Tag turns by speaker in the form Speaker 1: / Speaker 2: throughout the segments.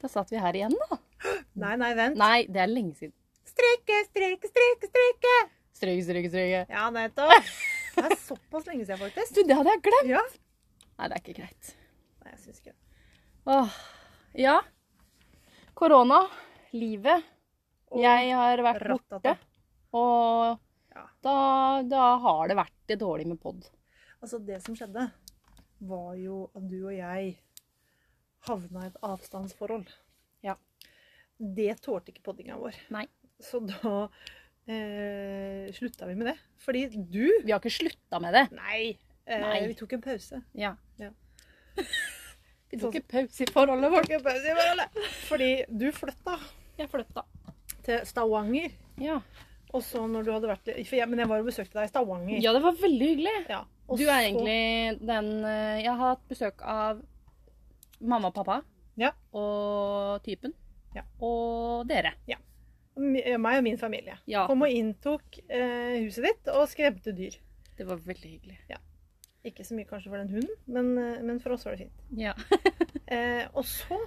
Speaker 1: Da satt vi her igjen, da.
Speaker 2: Nei, nei, vent.
Speaker 1: Nei, det er lenge siden.
Speaker 2: Strekke, strekke, strekke, strekke.
Speaker 1: Stryke, stryke, stryke.
Speaker 2: Ja, nettopp. Det er såpass lenge siden, faktisk.
Speaker 1: Du, det hadde jeg glemt!
Speaker 2: Ja.
Speaker 1: Nei, det er ikke greit.
Speaker 2: Nei, jeg syns ikke det.
Speaker 1: Åh. Ja. Korona. Livet.
Speaker 2: Og
Speaker 1: Jeg har vært borte.
Speaker 2: ratata.
Speaker 1: Og
Speaker 2: Ja.
Speaker 1: da, da har det vært det dårlig med pod.
Speaker 2: Altså, det som skjedde, var jo at du og jeg havna i et avstandsforhold.
Speaker 1: Ja.
Speaker 2: Det tålte ikke poddinga vår.
Speaker 1: Nei.
Speaker 2: Så da eh, slutta vi med det. Fordi du
Speaker 1: Vi har ikke slutta med det.
Speaker 2: Nei. Eh,
Speaker 1: Nei.
Speaker 2: Vi tok en pause.
Speaker 1: Ja.
Speaker 2: Ja.
Speaker 1: Vi tok ikke pause i forholdet vårt.
Speaker 2: Tok en pause i hverandre. Fordi du flytta
Speaker 1: Jeg flytta.
Speaker 2: til Stavanger.
Speaker 1: Ja.
Speaker 2: Og så når du hadde vært for jeg, Men jeg var og besøkte deg i Stavanger.
Speaker 1: ja, det var veldig hyggelig.
Speaker 2: Ja, og
Speaker 1: Du er
Speaker 2: så-
Speaker 1: egentlig den eh, Jeg har hatt besøk av mamma og pappa.
Speaker 2: Ja.
Speaker 1: Og typen.
Speaker 2: Ja.
Speaker 1: Og dere.
Speaker 2: M- eh, Meg og min familie.
Speaker 1: Ja.
Speaker 2: Kom og inntok eh, huset ditt og skremte dyr.
Speaker 1: Det var veldig hyggelig.
Speaker 2: Ikke så mye kanskje for den hunden, men, eh, men for oss var det fint.
Speaker 1: Ja.
Speaker 2: Eh, og så,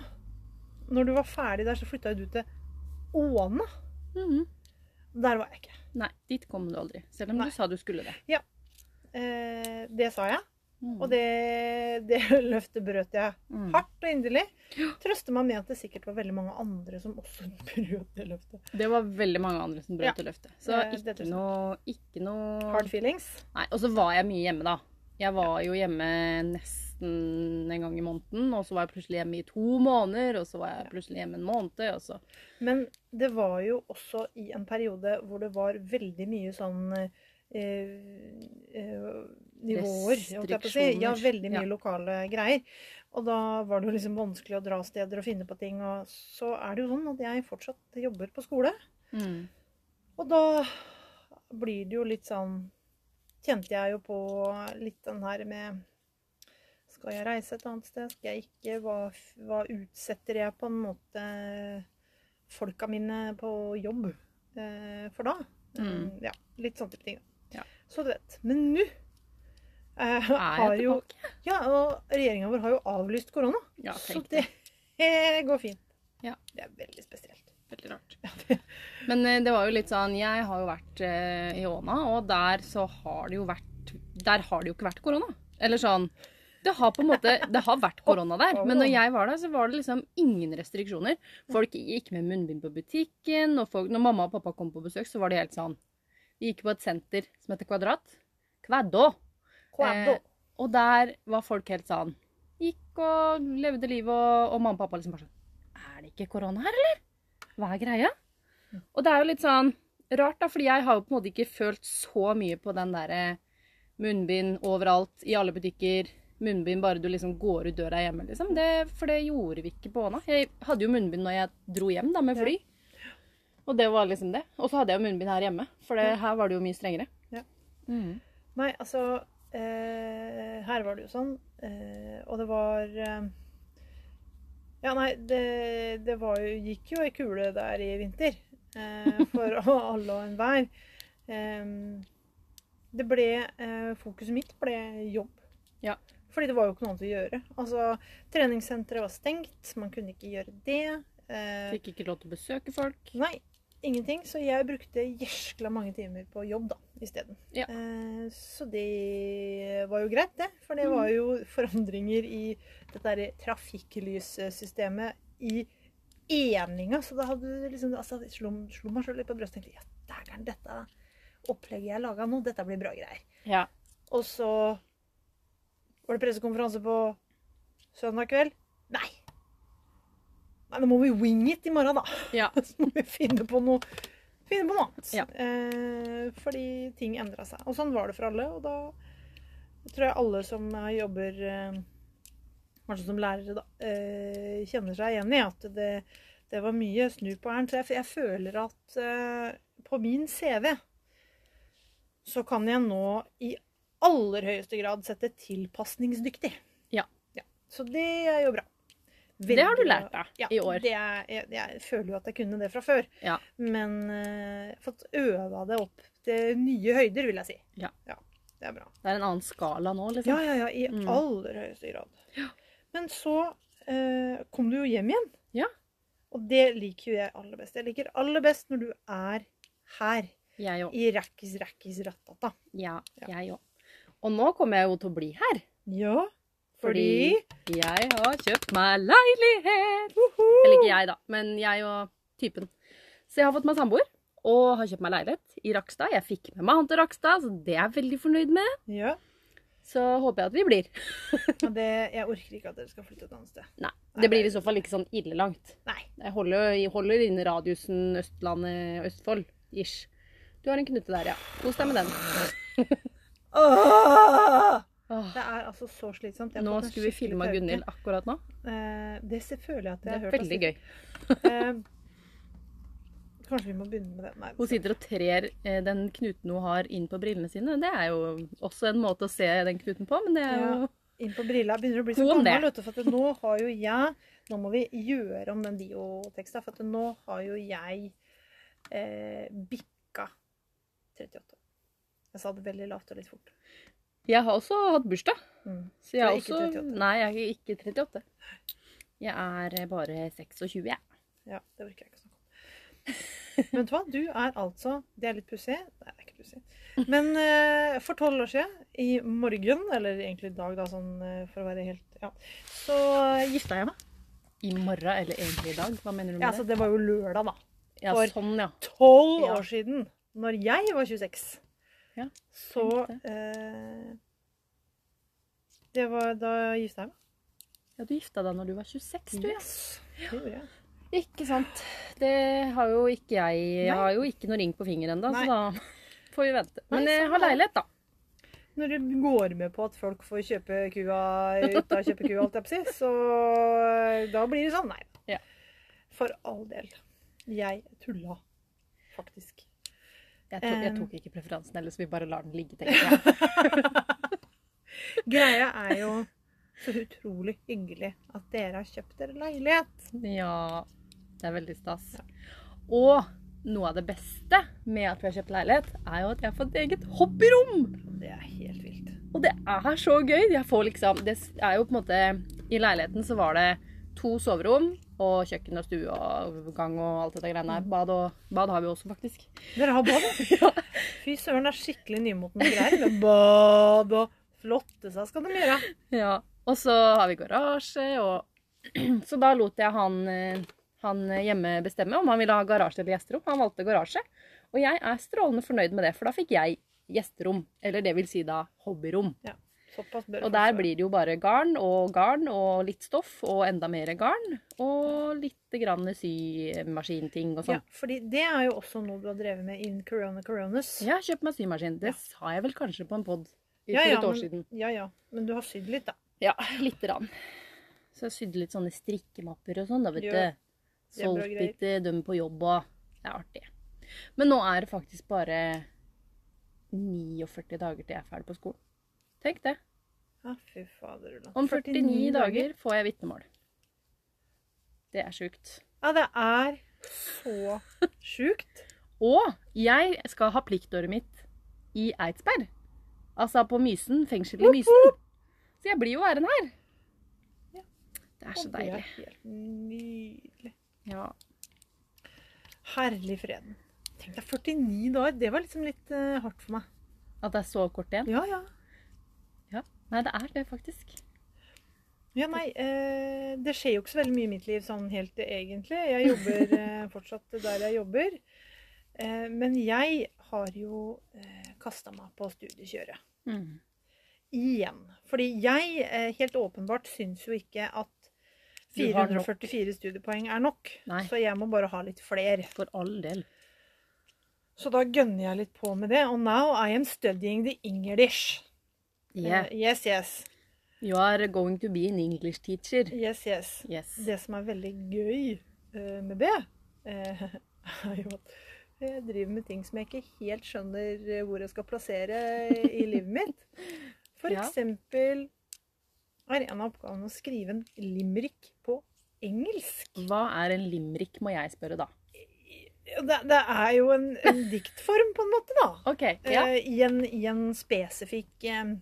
Speaker 2: når du var ferdig der, så flytta jo du til Åna.
Speaker 1: Mhm.
Speaker 2: Der var jeg ikke.
Speaker 1: Nei, dit kom du aldri. Selv om
Speaker 2: Nei.
Speaker 1: du sa du skulle det.
Speaker 2: Eh, det sa jeg,
Speaker 1: Mhm.
Speaker 2: og det, det løftet brøt jeg
Speaker 1: Mhm.
Speaker 2: hardt og inderlig. Trøster meg med at det sikkert var veldig mange andre som også brøt det løftet.
Speaker 1: Det var veldig mange andre som brøt
Speaker 2: Ja. Eh,
Speaker 1: det løftet. Så
Speaker 2: Det-
Speaker 1: ikke
Speaker 2: det tror jeg.
Speaker 1: noe, ikke noe
Speaker 2: Hard feelings.
Speaker 1: Nei, Og så var jeg mye hjemme, da. Jeg var jo hjemme nesten en gang i måneden. Og så var jeg plutselig hjemme i to måneder, og så var jeg plutselig hjemme en måned. Og så
Speaker 2: Men det var jo også i en periode hvor det var veldig mye sånn eh, eh, nivåer. holdt jeg på å si. Ja,
Speaker 1: Restriksjoner.
Speaker 2: veldig mye
Speaker 1: Ja.
Speaker 2: lokale greier. Og da var det jo liksom vanskelig å dra steder og finne på ting. Og så er det jo sånn at jeg fortsatt jobber på skole.
Speaker 1: mm.
Speaker 2: Og da blir det jo litt sånn Kjente jeg jo på litt den her med Skal jeg reise et annet sted? Skal jeg ikke? Hva, hva utsetter jeg på en måte folka mine på jobb eh, for da?
Speaker 1: Mm.
Speaker 2: Ja, litt sånne type ting.
Speaker 1: Ja.
Speaker 2: Så du vet. Men nå eh,
Speaker 1: er jeg
Speaker 2: har jo
Speaker 1: tilbake.
Speaker 2: Ja, og regjeringa vår har jo avlyst korona.
Speaker 1: Ja,
Speaker 2: så
Speaker 1: tenk
Speaker 2: det
Speaker 1: det.
Speaker 2: eh, går fint.
Speaker 1: Ja.
Speaker 2: Det er veldig spesielt.
Speaker 1: Veldig rart. Men eh, det var jo litt sånn Jeg har jo vært eh, i Åna, og der så har det jo vært Der har det jo ikke vært korona. Eller sånn Det har på en måte Det har vært korona der, men når jeg var der, så var det liksom ingen restriksjoner. Folk gikk med munnbind på butikken, og folk, når mamma og pappa kom på besøk, så var det helt sånn De gikk på et senter som heter Kvadrat. Kvædå.
Speaker 2: Quaddo.
Speaker 1: Eh, og der var folk helt sånn Gikk og levde livet, og, og mamma og pappa liksom bare sånn Er det ikke korona her, eller? Hva er greia? Og det er jo litt sånn rart, da, fordi jeg har jo på en måte ikke følt så mye på den derre munnbind overalt, i alle butikker. Munnbind bare du liksom går ut døra hjemme, liksom. Det, for det gjorde vi ikke på Åna. Jeg hadde jo munnbind når jeg dro hjem, da, med fly. Og det var liksom det. Og så hadde jeg jo munnbind her hjemme, for det, her var det jo mye strengere.
Speaker 2: Ja.
Speaker 1: Mhm.
Speaker 2: Nei, altså eh, Her var det jo sånn. Eh, og det var eh, Ja, nei, det, det var jo, gikk jo ei kule der i vinter. Eh, for alle og enhver. Eh, det ble eh, Fokuset mitt ble jobb.
Speaker 1: Ja.
Speaker 2: Fordi det var jo ikke noe annet å gjøre. Altså, treningssenteret var stengt. Man kunne ikke gjøre det. Eh,
Speaker 1: Fikk ikke lov til å besøke folk.
Speaker 2: Nei, ingenting. Så jeg brukte gjerskla mange timer på jobb da, isteden.
Speaker 1: Ja.
Speaker 2: Eh, så det var jo greit, det. For det var jo forandringer i dette derre trafikklyssystemet i eninga. Så da hadde du liksom altså, jeg slo, slo meg sjøl litt på brystet og tenkte ja, dægeren, dette opplegget jeg laga nå, dette blir bra greier.
Speaker 1: Ja.
Speaker 2: Og så var det pressekonferanse på søndag kveld. Nei! Nei, nå må vi wing it i morgen, da.
Speaker 1: Ja.
Speaker 2: Så må vi finne på noe, finne på noe annet.
Speaker 1: Ja.
Speaker 2: Eh, fordi ting endra seg. Og sånn var det for alle. Og da tror jeg alle som eh, jobber eh, kanskje som lærere, da, eh, kjenner seg igjen i at det, det var mye snu på æren. Så jeg, jeg føler at eh, på min CV så kan jeg nå i aller høyeste grad sette tilpasningsdyktig.
Speaker 1: Ja.
Speaker 2: Så det er jo bra.
Speaker 1: Det har du
Speaker 2: Veldig bra.
Speaker 1: lært deg
Speaker 2: Ja,
Speaker 1: i år.
Speaker 2: Det er, jeg, jeg føler jo at jeg kunne det fra før.
Speaker 1: Ja.
Speaker 2: Men eh, jeg har fått øva det opp til nye høyder, vil jeg si.
Speaker 1: Ja.
Speaker 2: det er bra.
Speaker 1: Det er en annen skala nå,
Speaker 2: Ja,
Speaker 1: liksom.
Speaker 2: ja, ja. I
Speaker 1: Mm.
Speaker 2: aller høyeste grad. Men så eh, kom du jo hjem igjen.
Speaker 1: Ja.
Speaker 2: Og det liker jo jeg aller best. Jeg liker aller best når du er her.
Speaker 1: Jeg òg.
Speaker 2: I rakkis, rakkis, rattata.
Speaker 1: Ja,
Speaker 2: Ja.
Speaker 1: jeg òg. Og nå kommer jeg jo til å bli her.
Speaker 2: Ja, fordi
Speaker 1: Fordi- Jeg har kjøpt meg leilighet!
Speaker 2: Woho!
Speaker 1: Eller ikke jeg, da, men jeg og typen. Så jeg har fått meg samboer og har kjøpt meg leilighet i Rakstad. Jeg fikk med meg han til Rakstad, så det er jeg veldig fornøyd med.
Speaker 2: Ja.
Speaker 1: Så håper jeg at vi blir.
Speaker 2: Og det, jeg orker ikke at dere skal flytte et annet sted.
Speaker 1: Nei, det blir i så fall ikke sånn ille langt.
Speaker 2: Nei.
Speaker 1: Jeg holder, jeg holder innen radiusen Østlandet, Østfold, ish. Du har en knute der, ja. Kos deg med den.
Speaker 2: Åh!
Speaker 1: Åh,
Speaker 2: Det er altså så slitsomt. Jeg har
Speaker 1: nå
Speaker 2: fått en
Speaker 1: skulle vi
Speaker 2: skikkelig
Speaker 1: filma
Speaker 2: tauke.
Speaker 1: Gunhild akkurat nå.
Speaker 2: Eh, Det ser- føler jeg at jeg
Speaker 1: Det
Speaker 2: har
Speaker 1: er
Speaker 2: hørt.
Speaker 1: veldig gøy.
Speaker 2: gøy. Kanskje vi må begynne med det. Nei, altså,
Speaker 1: Hun sitter og trer eh, den knuten hun har inn på brillene sine. Det er jo også en måte å se den knuten på, men det er jo
Speaker 2: Ja. inn på brilla. Begynner å bli så
Speaker 1: Kom det.
Speaker 2: gammel, vet du. For at nå har jo jeg Nå må vi gjøre om den Dio-teksta, for at nå har jo jeg eh, bikka 38. Jeg sa det veldig lavt og litt fort.
Speaker 1: Jeg har også hatt bursdag.
Speaker 2: Mm.
Speaker 1: Så jeg er
Speaker 2: Du
Speaker 1: også
Speaker 2: er ikke 38.
Speaker 1: Nei, jeg er ikke 38. Jeg er eh, bare 26, jeg.
Speaker 2: Ja, det orker jeg ikke å snakke om. Men vet du hva? Du er altså Det er litt pussig. Nei, det er ikke pussig. Men eh, for tolv år siden, i morgen, eller egentlig i dag, da, sånn eh, for å være helt Ja. Så gifta jeg meg.
Speaker 1: I morgen, eller egentlig i dag. Hva mener du med
Speaker 2: Ja, altså, det var jo lørdag, da.
Speaker 1: det? Ja,
Speaker 2: for-
Speaker 1: sånn, ja.
Speaker 2: Tolv
Speaker 1: Ja.
Speaker 2: år siden, når jeg var 26,
Speaker 1: Ja,
Speaker 2: så
Speaker 1: tenk
Speaker 2: eh, Det var da gifta jeg meg.
Speaker 1: Ja, Du gifta deg når du var 26, du. ja.
Speaker 2: Yes. Det gjorde jeg.
Speaker 1: Ikke sant. Det har jo ikke jeg.
Speaker 2: Nei.
Speaker 1: Jeg har jo ikke noe ring på fingeren ennå, så
Speaker 2: Nei.
Speaker 1: da får vi vente. Men
Speaker 2: Nei,
Speaker 1: jeg
Speaker 2: sånn
Speaker 1: har
Speaker 2: er det.
Speaker 1: leilighet, da.
Speaker 2: Når du går med på at folk får kjøpe kua ut av kjøpekua, alt jeg på å si, så da blir det sånn. Nei.
Speaker 1: Ja.
Speaker 2: For all del. Jeg tulla, faktisk.
Speaker 1: Jeg, to, jeg
Speaker 2: Um.
Speaker 1: tok ikke preferansen ellers, vi bare lar den ligge, tenker jeg.
Speaker 2: Greia er jo så utrolig hyggelig at dere har kjøpt dere leilighet.
Speaker 1: Ja, det er veldig stas. Og noe av det beste med at vi har kjøpt leilighet, er jo at jeg har fått eget hobbyrom.
Speaker 2: Det er helt vilt.
Speaker 1: Og det er så gøy. Jeg får liksom, det er jo på en måte I leiligheten så var det to soverom og kjøkken og stue og gang og alt dette greiene her. Bad, og, bad har vi også, faktisk.
Speaker 2: Dere har bad?
Speaker 1: Ja.
Speaker 2: Fy søren, det er skikkelig nymotens greier. med Bad og flotte seg skal de gjøre.
Speaker 1: Ja. Og så har vi garasje og Så da lot jeg han, eh, han hjemme bestemme om han ville ha garasje eller gjesterom. Han valgte garasje. Og jeg er strålende fornøyd med det, for da fikk jeg gjesterom. Eller det vil si da hobbyrom.
Speaker 2: Såpass bør
Speaker 1: Og
Speaker 2: folk
Speaker 1: der
Speaker 2: være.
Speaker 1: blir det jo bare garn og garn og litt stoff og enda mer garn. Og litt grann symaskinting og
Speaker 2: ja,
Speaker 1: sånn.
Speaker 2: fordi det er jo også noe du har drevet med in corona coronas.
Speaker 1: Ja, kjøp meg symaskin. Det
Speaker 2: Ja.
Speaker 1: sa jeg vel kanskje på en pod for
Speaker 2: Ja, ja,
Speaker 1: et år
Speaker 2: men-
Speaker 1: siden.
Speaker 2: Ja, ja. Men du har sydd litt, da.
Speaker 1: Ja, lite grann. Så jeg sydde litt sånne strikkemapper og sånn, da, vet
Speaker 2: Jo,
Speaker 1: du.
Speaker 2: det er bra
Speaker 1: Solgt
Speaker 2: greier.
Speaker 1: litt til dem på jobb og Det er artig. Men nå er det faktisk bare 49 dager til jeg er ferdig på skolen. Tenk det.
Speaker 2: Ja, fy fader. Ulla.
Speaker 1: Om 49, dager får jeg vitnemål. Det er sjukt.
Speaker 2: Ja, det er så sjukt.
Speaker 1: Og jeg skal ha pliktåret mitt i Eidsberg. Altså på Mysen, fengselet i Mysen. Så jeg blir jo æren her.
Speaker 2: Ja.
Speaker 1: Det er så
Speaker 2: Og det
Speaker 1: deilig.
Speaker 2: helt nydelig.
Speaker 1: Ja.
Speaker 2: Herlig freden. Tenk deg 49 dager. Det var liksom litt eh, hardt for meg.
Speaker 1: At det er så kort igjen.
Speaker 2: Ja, ja.
Speaker 1: Nei, det er det faktisk.
Speaker 2: Ja, nei, eh, Det skjer jo ikke så veldig mye i mitt liv sånn helt eh, egentlig. Jeg jobber eh, fortsatt der jeg jobber. Eh, men jeg har jo eh, kasta meg på studiekjøret.
Speaker 1: Mm.
Speaker 2: Igjen. Fordi jeg eh, helt åpenbart syns jo ikke at
Speaker 1: Du har nok.
Speaker 2: 444 studiepoeng er nok.
Speaker 1: Nei.
Speaker 2: Så jeg må bare ha litt flere.
Speaker 1: For all del.
Speaker 2: Så da gønner jeg litt på med det. Og now I am studying the English.
Speaker 1: Yeah.
Speaker 2: Eh, yes, yes.
Speaker 1: You are going to be an English teacher.
Speaker 2: Yes, yes.
Speaker 1: Yes.
Speaker 2: Det som er veldig gøy eh, med det, eh, er jo at jeg driver med ting som jeg ikke helt skjønner eh, hvor jeg skal plassere i livet mitt. For
Speaker 1: Ja.
Speaker 2: eksempel er en av oppgavene å skrive en limerick på engelsk.
Speaker 1: Hva er en limerick, må jeg spørre da.
Speaker 2: Det, det er jo en, en diktform, på en måte, da.
Speaker 1: OK. Ja.
Speaker 2: Eh, I, en, I en spesifikk eh,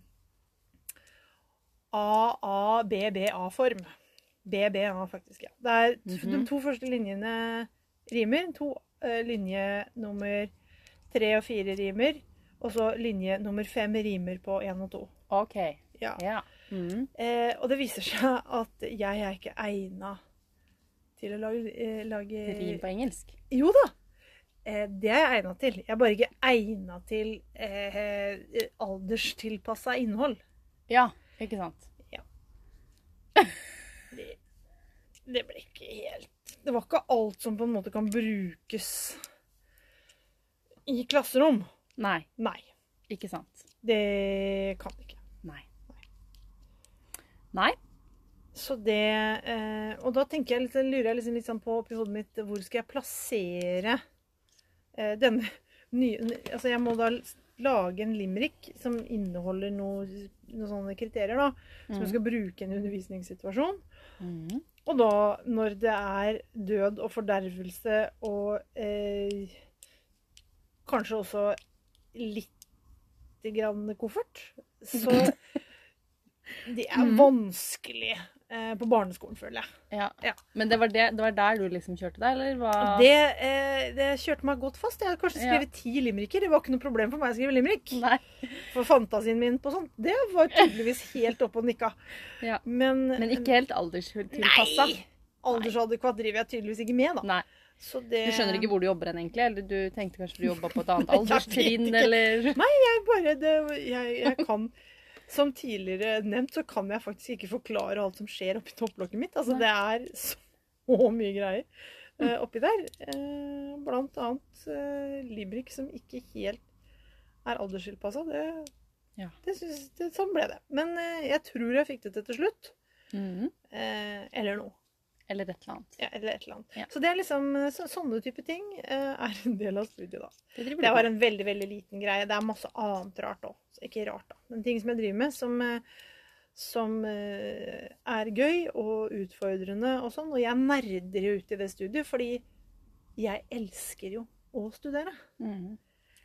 Speaker 2: AABBA-form. BBA, faktisk. ja. Det er t-
Speaker 1: Mhm.
Speaker 2: De to første linjene rimer. To eh, linje nummer tre og fire rimer. Og så linje nummer fem rimer på én og to.
Speaker 1: OK.
Speaker 2: Ja.
Speaker 1: Ja. Mm.
Speaker 2: Eh, og det viser seg at jeg er ikke egna til å lage, eh, lage
Speaker 1: Rim på engelsk.
Speaker 2: jo da. Eh, Det er jeg egna til. Jeg er bare ikke egna til eh, alderstilpassa innhold.
Speaker 1: Ja, ikke sant.
Speaker 2: Det, det ble ikke helt Det var ikke alt som på en måte kan brukes i klasserom.
Speaker 1: Nei,
Speaker 2: Nei.
Speaker 1: ikke sant.
Speaker 2: Det kan det ikke.
Speaker 1: Nei. Nei.
Speaker 2: Så det eh, Og da tenker jeg litt, lurer jeg liksom litt sånn på oppi hodet mitt hvor skal jeg plassere eh, denne nye Altså jeg må da lage en limerick som inneholder noe- noen sånne kriterier, da. Som jeg
Speaker 1: Mm.
Speaker 2: skal bruke i en undervisningssituasjon.
Speaker 1: Mm.
Speaker 2: Og da når det er død og fordervelse og eh, kanskje også litt grann koffert, så Det er
Speaker 1: Mhm.
Speaker 2: vanskelig eh, på barneskolen, føler jeg.
Speaker 1: Ja.
Speaker 2: Ja.
Speaker 1: Men det var, det, det var der du liksom kjørte deg, eller hva?
Speaker 2: Og Det, eh, det kjørte meg godt fast. Jeg hadde kanskje
Speaker 1: Ja.
Speaker 2: skrevet ti limericker. Det var ikke noe problem for meg å skrive limerick.
Speaker 1: Nei.
Speaker 2: For fantasien min på sånt, det var tydeligvis helt oppe og nikka.
Speaker 1: Ja.
Speaker 2: Men,
Speaker 1: Men ikke helt alderstilpassa.
Speaker 2: Nei! Aldersadekvat driver jeg tydeligvis ikke med, da.
Speaker 1: Nei.
Speaker 2: Så det
Speaker 1: Du skjønner ikke hvor du jobber hen, egentlig? Eller du tenkte kanskje du jobba på et annet
Speaker 2: Jeg vet
Speaker 1: alderstrinn,
Speaker 2: ikke.
Speaker 1: eller
Speaker 2: jeg bare det, jeg, jeg kan Som tidligere nevnt, så kan jeg faktisk ikke forklare alt som skjer oppi topplokket mitt. Altså,
Speaker 1: Nei.
Speaker 2: det er så mye greier eh, oppi der. Eh, blant annet eh, Librik, som ikke helt er alderstilpassa. Det,
Speaker 1: Ja.
Speaker 2: det synes- det, sånn ble det. Men eh, jeg tror jeg fikk det til til slutt.
Speaker 1: Mhm.
Speaker 2: Eh, eller noe.
Speaker 1: Eller et eller annet.
Speaker 2: Ja, eller et eller annet.
Speaker 1: Ja.
Speaker 2: Så det er liksom eh, så, sånne type ting eh, er en del av studiet, da.
Speaker 1: Det driver
Speaker 2: Det
Speaker 1: du
Speaker 2: var
Speaker 1: med.
Speaker 2: en veldig veldig liten greie. Det er masse annet rart òg. Ikke rart, da. Men ting som jeg driver med, som, eh, som eh, er gøy og utfordrende og sånn. Og jeg nerder jo ut i det studiet, fordi jeg elsker jo å studere.
Speaker 1: Mhm.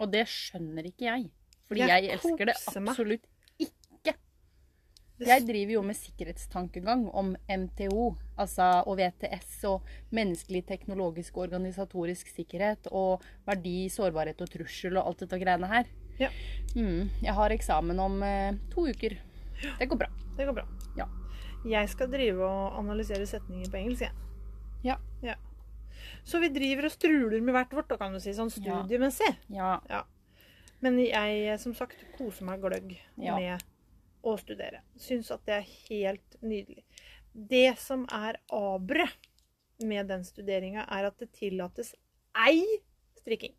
Speaker 1: Og det skjønner ikke jeg. Fordi
Speaker 2: Jeg
Speaker 1: jeg, elsker det
Speaker 2: koser meg.
Speaker 1: absolutt
Speaker 2: Det
Speaker 1: Jeg driver jo med sikkerhetstankegang om MTO, altså og VTS og menneskelig, teknologisk og organisatorisk sikkerhet og verdi, sårbarhet og trussel og alt dette greiene her.
Speaker 2: Ja.
Speaker 1: Mm, jeg har eksamen om eh, to uker. Det går bra.
Speaker 2: Det går bra.
Speaker 1: Ja.
Speaker 2: Jeg skal drive og analysere setninger på engelsk, jeg.
Speaker 1: Ja.
Speaker 2: Så vi driver og struler med hvert vårt, da, kan du si, sånn
Speaker 1: Ja.
Speaker 2: studiemessig.
Speaker 1: Ja.
Speaker 2: Men jeg, som sagt, koser meg gløgg
Speaker 1: Ja.
Speaker 2: med å studere. Syns at det er helt nydelig. Det som er aberet med den studeringa, er at det tillates ei strikking.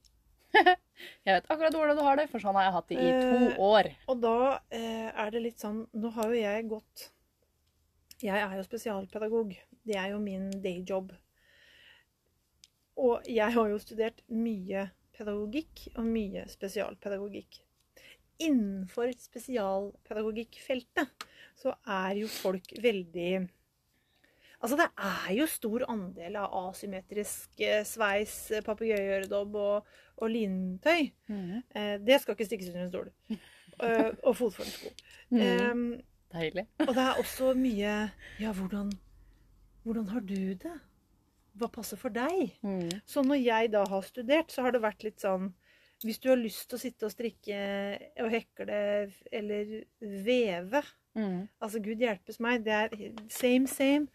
Speaker 1: Jeg vet akkurat hvordan du har det, for sånn har jeg hatt det i
Speaker 2: Eh,
Speaker 1: to år.
Speaker 2: Og da eh, er det litt sånn Nå har jo jeg gått Jeg er jo spesialpedagog. Det er jo min dayjob. Og jeg har jo studert mye pedagogikk og mye spesialpedagogikk. Innenfor spesialpedagogikkfeltet så er jo folk veldig Altså, det er jo stor andel av asymmetrisk eh, sveis, eh, papegøyeøredobb og, og lintøy.
Speaker 1: Mm.
Speaker 2: Eh, det skal ikke stikkes under en stol. Eh, og fotformsko.
Speaker 1: Mm.
Speaker 2: Eh,
Speaker 1: Deilig.
Speaker 2: og det er også mye Ja, hvordan, hvordan har du det? Hva passer for deg?
Speaker 1: Mm.
Speaker 2: Så når jeg da har studert, så har det vært litt sånn Hvis du har lyst til å sitte og strikke og hekle eller veve
Speaker 1: Mm.
Speaker 2: Altså, Gud hjelpes meg, det er same, same.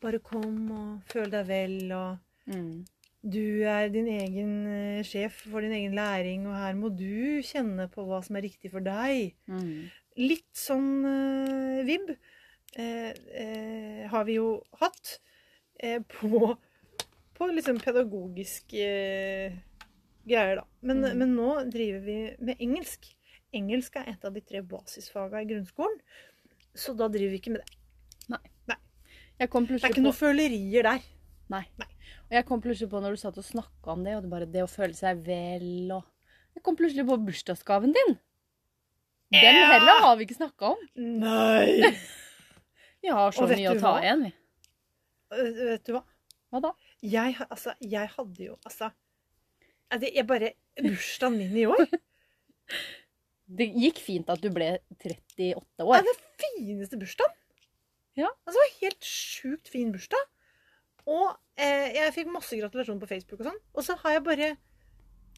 Speaker 2: Bare kom og føl deg vel og
Speaker 1: Mm.
Speaker 2: du er din egen eh, sjef for din egen læring, og her må du kjenne på hva som er riktig for deg.
Speaker 1: Mm.
Speaker 2: Litt sånn eh, vibb eh, eh, har vi jo hatt eh, på, på liksom pedagogiske eh, greier, da. Men,
Speaker 1: Mm.
Speaker 2: men nå driver vi med engelsk. Engelsk er et av de tre basisfaga i grunnskolen, så da driver vi ikke med det.
Speaker 1: Jeg kom
Speaker 2: Det er
Speaker 1: plutselig
Speaker 2: ikke
Speaker 1: på
Speaker 2: noe følerier der.
Speaker 1: Nei.
Speaker 2: Nei.
Speaker 1: Og jeg kom plutselig på når du satt og snakka om det, og det bare det å føle seg vel og Jeg kom plutselig på bursdagsgaven din. Den
Speaker 2: Ja!
Speaker 1: heller har vi ikke snakka om.
Speaker 2: Nei!
Speaker 1: Vi har så
Speaker 2: Og vet
Speaker 1: mye å
Speaker 2: du
Speaker 1: ta
Speaker 2: hva?
Speaker 1: igjen, vi.
Speaker 2: Eh, Vet du hva?
Speaker 1: Hva da?
Speaker 2: Jeg, ha- altså, jeg hadde jo altså, ja, det er bare Bursdagen min i år
Speaker 1: Det gikk fint at du ble 38
Speaker 2: er
Speaker 1: år.
Speaker 2: den fineste bursdagen!
Speaker 1: Ja.
Speaker 2: Altså, det var helt sjukt fin bursdag. Og eh, jeg fikk masse gratulasjoner på Facebook og sånn. Og så har jeg bare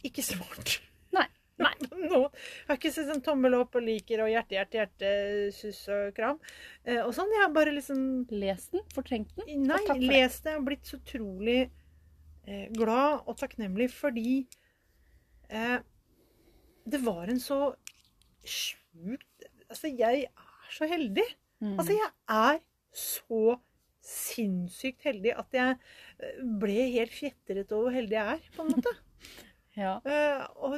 Speaker 2: ikke svart.
Speaker 1: Nei, nei.
Speaker 2: Nå jeg har ikke sett sånn tommel opp og liker og hjerte, hjerte, hjerte, suss og kram. Eh, og sånn. Jeg har bare liksom
Speaker 1: Les den, fortrengt den.
Speaker 2: Nei,
Speaker 1: takk for det.
Speaker 2: les det. Jeg har blitt så utrolig eh, glad og takknemlig fordi eh, det var en så sjukt Altså, jeg er så heldig.
Speaker 1: Mm.
Speaker 2: Altså, jeg er så sinnssykt heldig at jeg eh, ble helt fjetret over hvor heldig jeg er, på en måte.
Speaker 1: ja.
Speaker 2: Eh, og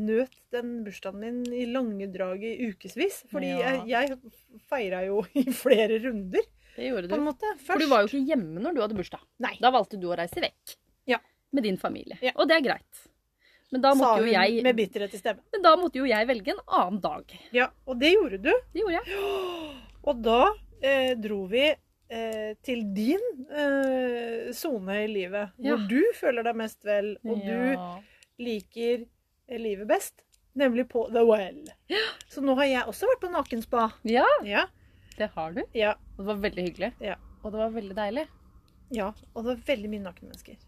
Speaker 2: nøt den bursdagen min i lange drag i ukevis. Fordi
Speaker 1: Ja.
Speaker 2: jeg, jeg feira jo i flere runder,
Speaker 1: Det gjorde
Speaker 2: på en
Speaker 1: du.
Speaker 2: måte. Først.
Speaker 1: For du var jo ikke hjemme når du hadde bursdag.
Speaker 2: Nei.
Speaker 1: Da valgte du å reise vekk.
Speaker 2: Ja.
Speaker 1: Med din familie.
Speaker 2: Ja.
Speaker 1: Og det er greit. Men da,
Speaker 2: sa
Speaker 1: måtte jo
Speaker 2: hun
Speaker 1: jeg,
Speaker 2: med bitterhet i stemmen.
Speaker 1: men da måtte jo jeg velge en annen dag.
Speaker 2: Ja, og det gjorde du.
Speaker 1: Det gjorde jeg.
Speaker 2: Og da eh, dro vi eh, til din eh, sone i livet.
Speaker 1: Ja.
Speaker 2: Hvor du føler deg mest vel, og du
Speaker 1: Ja.
Speaker 2: liker eh, livet best. Nemlig på The Well. Så nå har jeg også vært på nakenspa.
Speaker 1: ja,
Speaker 2: Ja,
Speaker 1: det har du.
Speaker 2: ja,
Speaker 1: Og det var veldig hyggelig.
Speaker 2: Ja.
Speaker 1: Og det var veldig deilig.
Speaker 2: ja. Og det var veldig mye nakne mennesker.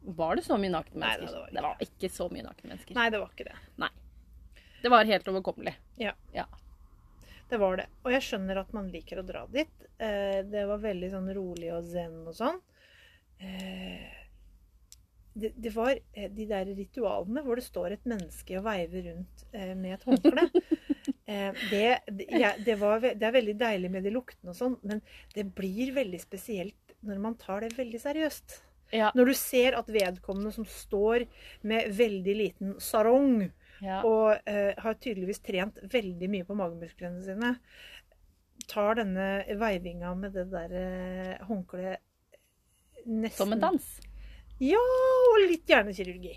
Speaker 1: Var det så mye nakne
Speaker 2: Nei,
Speaker 1: mennesker?
Speaker 2: det
Speaker 1: det
Speaker 2: var
Speaker 1: var ikke så mye nakne mennesker.
Speaker 2: Nei, det var ikke det.
Speaker 1: Det var helt overkommelig.
Speaker 2: Det var det. Og jeg skjønner at man liker å dra dit. Eh, det var veldig sånn rolig og zen og sånn. Eh, det, det var eh, de der ritualene hvor det står et menneske og veiver rundt eh, med et håndkle. Eh, det, det, jeg, det, var, ve- det er veldig deilig med de luktene og sånn, men det blir veldig spesielt når man tar det veldig seriøst.
Speaker 1: Ja.
Speaker 2: Når du ser at vedkommende som står med veldig liten sarong
Speaker 1: Ja.
Speaker 2: og eh, har tydeligvis trent veldig mye på magemusklene sine. Tar denne veivinga med det der eh, håndkleet nesten
Speaker 1: Som en dans.
Speaker 2: Ja, og litt hjernekirurgi.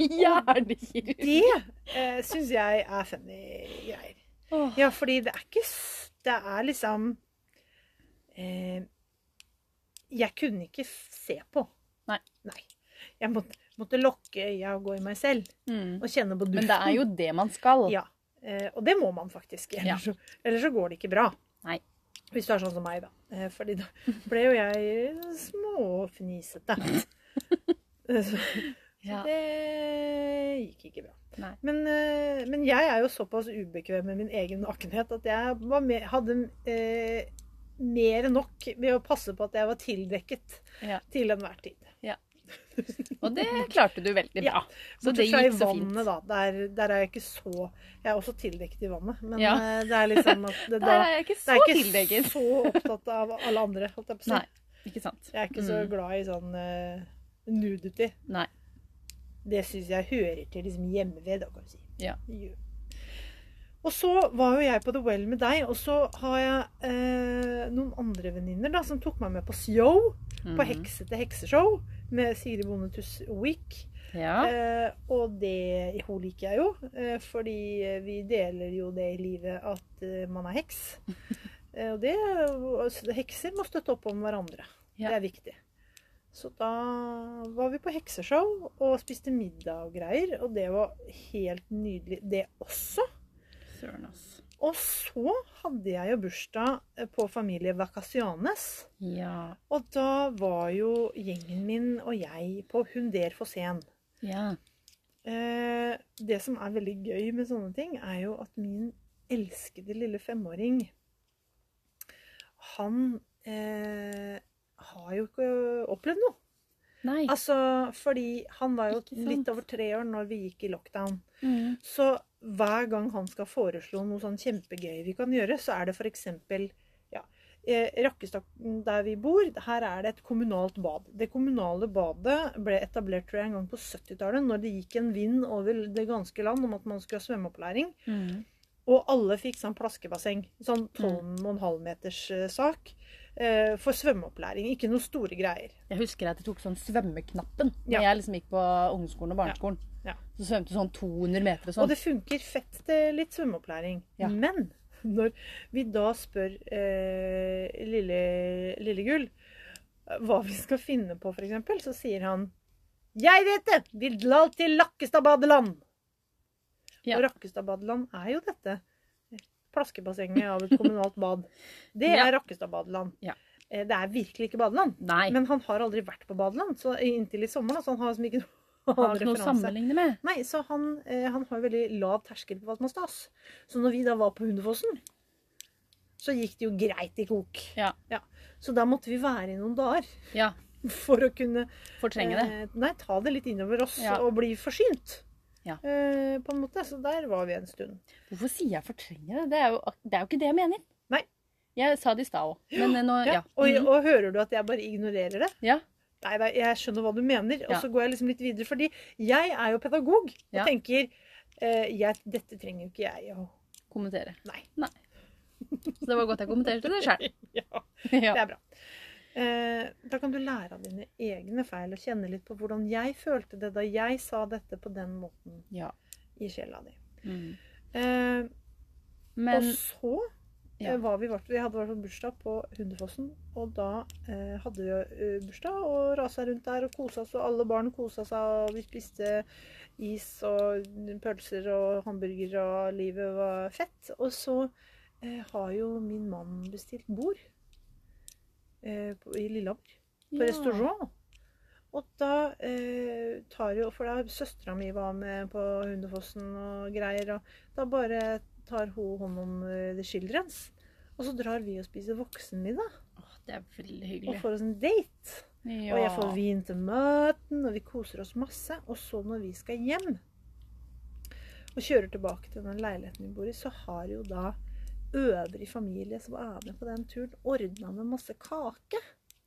Speaker 1: Hjernekirurgi.
Speaker 2: Det eh, syns jeg er funny greier.
Speaker 1: Åh.
Speaker 2: Ja, fordi det er ikke s- Det er liksom eh, Jeg kunne ikke f- se på.
Speaker 1: Nei.
Speaker 2: Jeg måtte, måtte lukke øya og gå i meg selv
Speaker 1: Mm.
Speaker 2: og kjenne på duften.
Speaker 1: Men det er jo det man skal.
Speaker 2: Ja, eh, og det må man faktisk.
Speaker 1: Ja.
Speaker 2: Ellers, så, ellers så går det ikke bra.
Speaker 1: Nei.
Speaker 2: Hvis du er sånn som meg, da. Eh, Fordi da ble jo jeg småfnisete. Eh, Så
Speaker 1: Ja.
Speaker 2: det gikk ikke bra.
Speaker 1: Nei.
Speaker 2: Men, eh, men jeg er jo såpass ubekvem med min egen nakenhet at jeg var mer, hadde eh, mer enn nok med å passe på at jeg var tildekket
Speaker 1: Ja.
Speaker 2: til enhver tid.
Speaker 1: Og det klarte du veldig bra. Så det
Speaker 2: Bortsett fra i
Speaker 1: gikk så
Speaker 2: vannet,
Speaker 1: fint.
Speaker 2: da. Der, der er jeg ikke så Jeg er også tildekket i vannet, men
Speaker 1: Ja.
Speaker 2: eh, det er liksom at det,
Speaker 1: Der
Speaker 2: da,
Speaker 1: er jeg ikke
Speaker 2: det
Speaker 1: så
Speaker 2: er ikke
Speaker 1: tildekket.
Speaker 2: så opptatt av alle andre, holdt jeg på å si.
Speaker 1: Nei. Ikke sant.
Speaker 2: Jeg er ikke så
Speaker 1: Mm.
Speaker 2: glad i sånn eh, nudity.
Speaker 1: Nei.
Speaker 2: Det syns jeg hører til liksom hjemme ved, da, kan du si.
Speaker 1: Ja.
Speaker 2: Jo. Og så var jo jeg på The Well med deg, og så har jeg eh, noen andre venninner da, som tok meg med på Show, på
Speaker 1: Mhm.
Speaker 2: Heksete hekseshow, med Sigrid Bonde Tusvik.
Speaker 1: Mm. Ja.
Speaker 2: Eh, og det hun liker jeg jo, eh, fordi eh, vi deler jo det i livet at eh, man er heks. Eh, og det, altså, hekser må støtte opp om hverandre.
Speaker 1: Ja.
Speaker 2: Det er viktig. Så da var vi på hekseshow og spiste middag og greier, og det var helt nydelig, det også.
Speaker 1: Søren, ass.
Speaker 2: Og så hadde jeg jo bursdag eh, på familie Vacaciones.
Speaker 1: Ja.
Speaker 2: Og da var jo gjengen min og jeg på Hunder Fossén.
Speaker 1: Ja.
Speaker 2: Eh, det som er veldig gøy med sånne ting, er jo at min elskede lille femåring Han eh, har jo ikke opplevd noe.
Speaker 1: Nei.
Speaker 2: Altså, fordi han var jo
Speaker 1: Ikke sant.
Speaker 2: litt over tre år når vi gikk i lockdown.
Speaker 1: Mm.
Speaker 2: Så hver gang han skal foreslå noe sånn kjempegøy vi kan gjøre, så er det f.eks. Ja, eh, Rakkestad der vi bor, her er det et kommunalt bad. Det kommunale badet ble etablert tror jeg, en gang på 70-tallet, når det gikk en vind over det ganske land om at man skulle ha svømmeopplæring.
Speaker 1: Mm.
Speaker 2: Og alle fikk sånn plaskebasseng. Sånn 12,5 meters eh, sak. eh, For svømmeopplæring. Ikke noe store greier.
Speaker 1: Jeg husker at jeg tok sånn svømmeknappen da
Speaker 2: Ja.
Speaker 1: jeg liksom gikk på ungdomsskolen og barneskolen.
Speaker 2: Ja. Ja.
Speaker 1: Så svømte jeg sånn 200 meter og
Speaker 2: Og
Speaker 1: sånn.
Speaker 2: det funker fett til litt svømmeopplæring.
Speaker 1: Ja.
Speaker 2: Men når vi da spør eh, lille, lille Gull eh, hva vi skal finne på, f.eks., så sier han Jeg vet det! Vi drar til Lakkestad badeland!
Speaker 1: Ja.
Speaker 2: Og Rakkestad badeland er jo dette plaskebassenget av et kommunalt bad. Det
Speaker 1: Ja.
Speaker 2: er Rakkestadbadeland.
Speaker 1: Ja.
Speaker 2: Eh, Det er virkelig ikke badeland.
Speaker 1: Nei.
Speaker 2: Men han har aldri vært på badeland så inntil i sommer, da, så han har liksom ikke noe
Speaker 1: Har
Speaker 2: annen
Speaker 1: ikke noe å
Speaker 2: referanse.
Speaker 1: sammenligne med.
Speaker 2: Nei, så han, eh, han har jo veldig lav terskel på hva som er stas. Så når vi da var på Hundefossen, så gikk det jo greit i kok.
Speaker 1: Ja.
Speaker 2: Så da måtte vi være i noen dager
Speaker 1: Ja,
Speaker 2: for å kunne
Speaker 1: fortrenge det.
Speaker 2: eh, Nei, ta det litt innover oss
Speaker 1: Ja.
Speaker 2: og bli forsynt.
Speaker 1: Ja.
Speaker 2: Eh, på en måte. Så der var vi en stund.
Speaker 1: Hvorfor sier jeg fortrenge det? Det er jo, det er jo ikke det jeg mener.
Speaker 2: Nei.
Speaker 1: Jeg sa det i stad òg, men eh, nå
Speaker 2: Ja.
Speaker 1: Ja.
Speaker 2: Og,
Speaker 1: Mhm.
Speaker 2: og hører du at jeg bare ignorerer det?
Speaker 1: Ja.
Speaker 2: Nei da, jeg skjønner hva du mener, og
Speaker 1: Ja.
Speaker 2: så går jeg liksom litt videre. Fordi jeg er jo pedagog og
Speaker 1: Ja.
Speaker 2: tenker eh, jeg, Dette trenger jo ikke jeg å
Speaker 1: Kommentere.
Speaker 2: Nei.
Speaker 1: Så det var godt jeg kommenterte det sjøl.
Speaker 2: ja.
Speaker 1: Ja.
Speaker 2: Det er bra. Eh, da kan du lære av dine egne feil og kjenne litt på hvordan jeg følte det da jeg sa dette på den måten
Speaker 1: ja.
Speaker 2: i sjela di.
Speaker 1: Mm.
Speaker 2: Eh, og
Speaker 1: Men
Speaker 2: så eh,
Speaker 1: Ja.
Speaker 2: var vi, vart, vi hadde vært på bursdag på Hundefossen, og da eh, hadde vi jo, eh, bursdag og rasa rundt der og kosa oss, og alle barn kosa seg, og vi spiste is og pølser og hamburger, og livet var fett. Og så eh, har jo min mann bestilt bord eh, på, i Lillehammer på
Speaker 1: ja.
Speaker 2: restaurant. Og da eh, tar jo For da søstera mi var med på Hundefossen og greier. Og da bare tar hun hånd om eh, The Childrens. Og så drar vi og spiser voksenmiddag
Speaker 1: Åh, Det er veldig
Speaker 2: og
Speaker 1: hyggelig.
Speaker 2: får oss en date.
Speaker 1: Ja.
Speaker 2: Og jeg får vin til maten, og vi koser oss masse. Og så når vi skal hjem og kjører tilbake til den leiligheten vi bor i, så har jo da øvrig familie som er med på den turen, ordna med masse kake.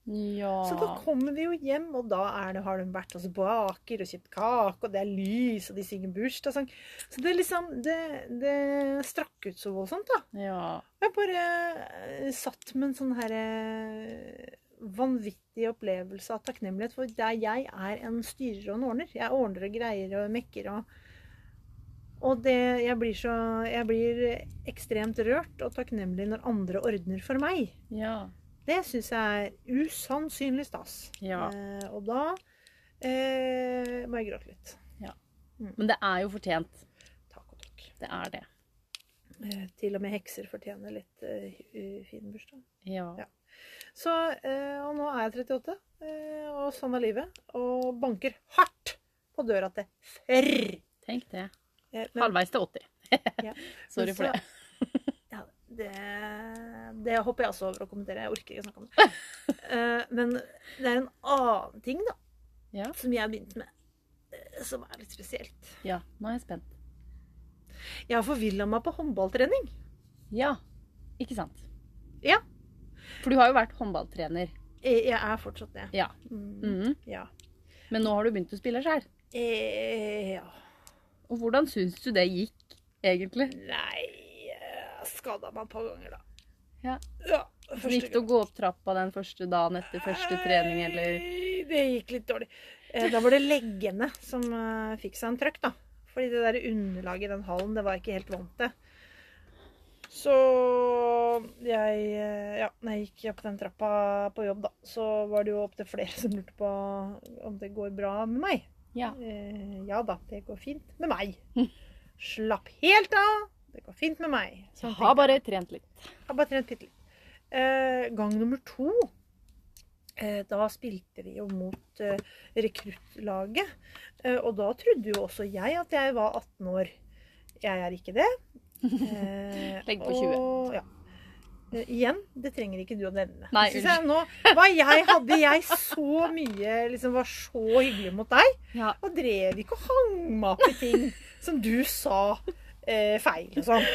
Speaker 1: Ja.
Speaker 2: Så da kommer vi jo hjem, og da er det, har de vært og så baker og kjøpt kake, og det er lys, og de synger bursdagssang. Så det er liksom det, det strakk ut så voldsomt, da.
Speaker 1: ja.
Speaker 2: Jeg bare eh, satt med en sånn her eh, vanvittig opplevelse av takknemlighet, for der jeg er en styrer og en ordner. Jeg ordner og greier og mekker og Og det Jeg blir så Jeg blir ekstremt rørt og takknemlig når andre ordner for meg.
Speaker 1: Ja.
Speaker 2: Det syns jeg er usannsynlig stas.
Speaker 1: Ja.
Speaker 2: Eh, og da eh, må jeg gråte litt.
Speaker 1: Men det er jo fortjent.
Speaker 2: Takk og takk.
Speaker 1: Det er det.
Speaker 2: Eh, til og med hekser fortjener litt eh, hu- fin bursdag.
Speaker 1: Ja.
Speaker 2: Ja. Så eh, Og nå er jeg 38, eh, og sånn er livet. Og banker hardt på døra til ferr.
Speaker 1: Tenk det.
Speaker 2: Eh, men-
Speaker 1: Halvveis til 80.
Speaker 2: Ja.
Speaker 1: Sorry for
Speaker 2: Men
Speaker 1: det.
Speaker 2: Ja, det, det hopper jeg også over å kommentere. Jeg orker ikke snakke om det. Eh, men det er en annen ting, da,
Speaker 1: Ja.
Speaker 2: som jeg har begynt med, eh, som er litt spesielt.
Speaker 1: Ja, nå er jeg spent.
Speaker 2: Jeg har forvilla meg på håndballtrening.
Speaker 1: Ja, ikke sant?
Speaker 2: Ja.
Speaker 1: For du har jo vært håndballtrener.
Speaker 2: Jeg jeg er fortsatt det.
Speaker 1: Ja.
Speaker 2: Mm.
Speaker 1: Mhm.
Speaker 2: Ja.
Speaker 1: Men nå har du begynt å spille sjøl.
Speaker 2: Eh, ja.
Speaker 1: Og hvordan syns du det gikk, egentlig?
Speaker 2: Nei Jeg skada meg et par ganger, da.
Speaker 1: Ja.
Speaker 2: ja
Speaker 1: Hvordan gikk det å gå opp trappa den første dagen etter første trening, eller
Speaker 2: Nei, Det gikk litt dårlig. Eh, da var det leggene som eh, fikk seg en trøkk, da. Fordi det der underlaget i den hallen, det var jeg ikke helt vant til. Så jeg eh, Ja, når jeg gikk opp den trappa på jobb, da, så var det jo opptil flere som lurte på om det går bra med meg.
Speaker 1: Ja.
Speaker 2: Eh, ja da, det går fint med meg.
Speaker 1: Hm.
Speaker 2: Slapp helt av. Det går fint med meg. Sånn
Speaker 1: Jeg har
Speaker 2: tenkte
Speaker 1: bare trent litt.
Speaker 2: jeg har bare trent bitte litt. Eh, gang nummer to eh, Da spilte vi jo mot eh, rekruttlaget. Eh, og da trodde jo også jeg at jeg var 18 år. Jeg er ikke det. Eh,
Speaker 1: Legg på 20.
Speaker 2: Og, ja. Eh, igjen, det trenger ikke du å nevne.
Speaker 1: Nei,
Speaker 2: Synes jeg, nå, var jeg, hadde jeg så mye liksom, Var så hyggelig mot deg.
Speaker 1: Ja.
Speaker 2: Og drev ikke og hang meg opp i ting som du sa eh, feil og sånn.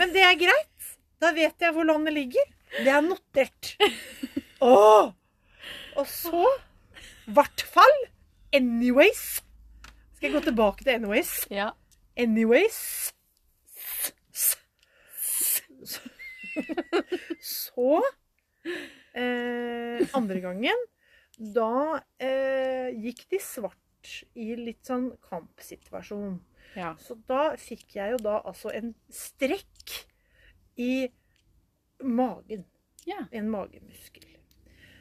Speaker 2: Men det er greit. Da vet jeg hvor landet ligger. Det er notert. Åh! Og så hvert fall anyways. Skal jeg gå tilbake til anyways?
Speaker 1: Ja.
Speaker 2: Anyways S- s- Så eh, Andre gangen, da eh, gikk de svart i litt sånn kampsituasjon.
Speaker 1: ja.
Speaker 2: Så da fikk jeg jo da altså en strekk i magen.
Speaker 1: Ja.
Speaker 2: En magemuskel.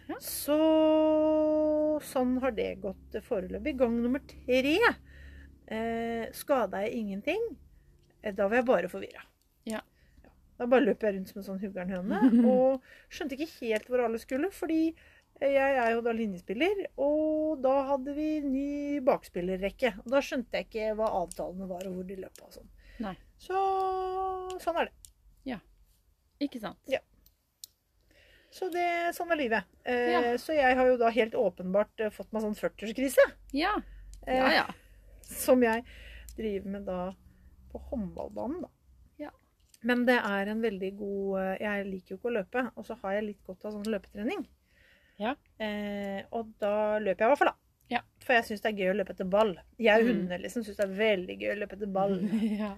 Speaker 1: Ja.
Speaker 2: Så sånn har det gått foreløpig. Gang nummer tre eh, skada jeg ingenting. Eh, Da var jeg bare forvirra.
Speaker 1: Ja.
Speaker 2: Da bare løp jeg rundt som en sånn huggernhøne. Og skjønte ikke helt hvor alle skulle, fordi eh, jeg er jo da linjespiller. Og da hadde vi ny bakspillerrekke. Og da skjønte jeg ikke hva avtalene var, og hvor de løp og sånn.
Speaker 1: Nei.
Speaker 2: Så sånn er det.
Speaker 1: Ikke sant?
Speaker 2: Så det, sånn er livet. Eh,
Speaker 1: Ja.
Speaker 2: Så jeg har jo da helt åpenbart eh, fått meg sånn 40-årskrise.
Speaker 1: Ja.
Speaker 2: eh,
Speaker 1: Ja, ja.
Speaker 2: Som jeg driver med da på håndballbanen, da.
Speaker 1: Ja.
Speaker 2: Men det er en veldig god eh, Jeg liker jo ikke å løpe, og så har jeg litt godt av sånn løpetrening.
Speaker 1: Ja.
Speaker 2: Eh, og da løper jeg i hvert fall, da.
Speaker 1: Ja.
Speaker 2: For jeg syns det er gøy å løpe etter ball. Jeg og
Speaker 1: Mm.
Speaker 2: hundene liksom syns det er veldig gøy å løpe etter ball.
Speaker 1: ja.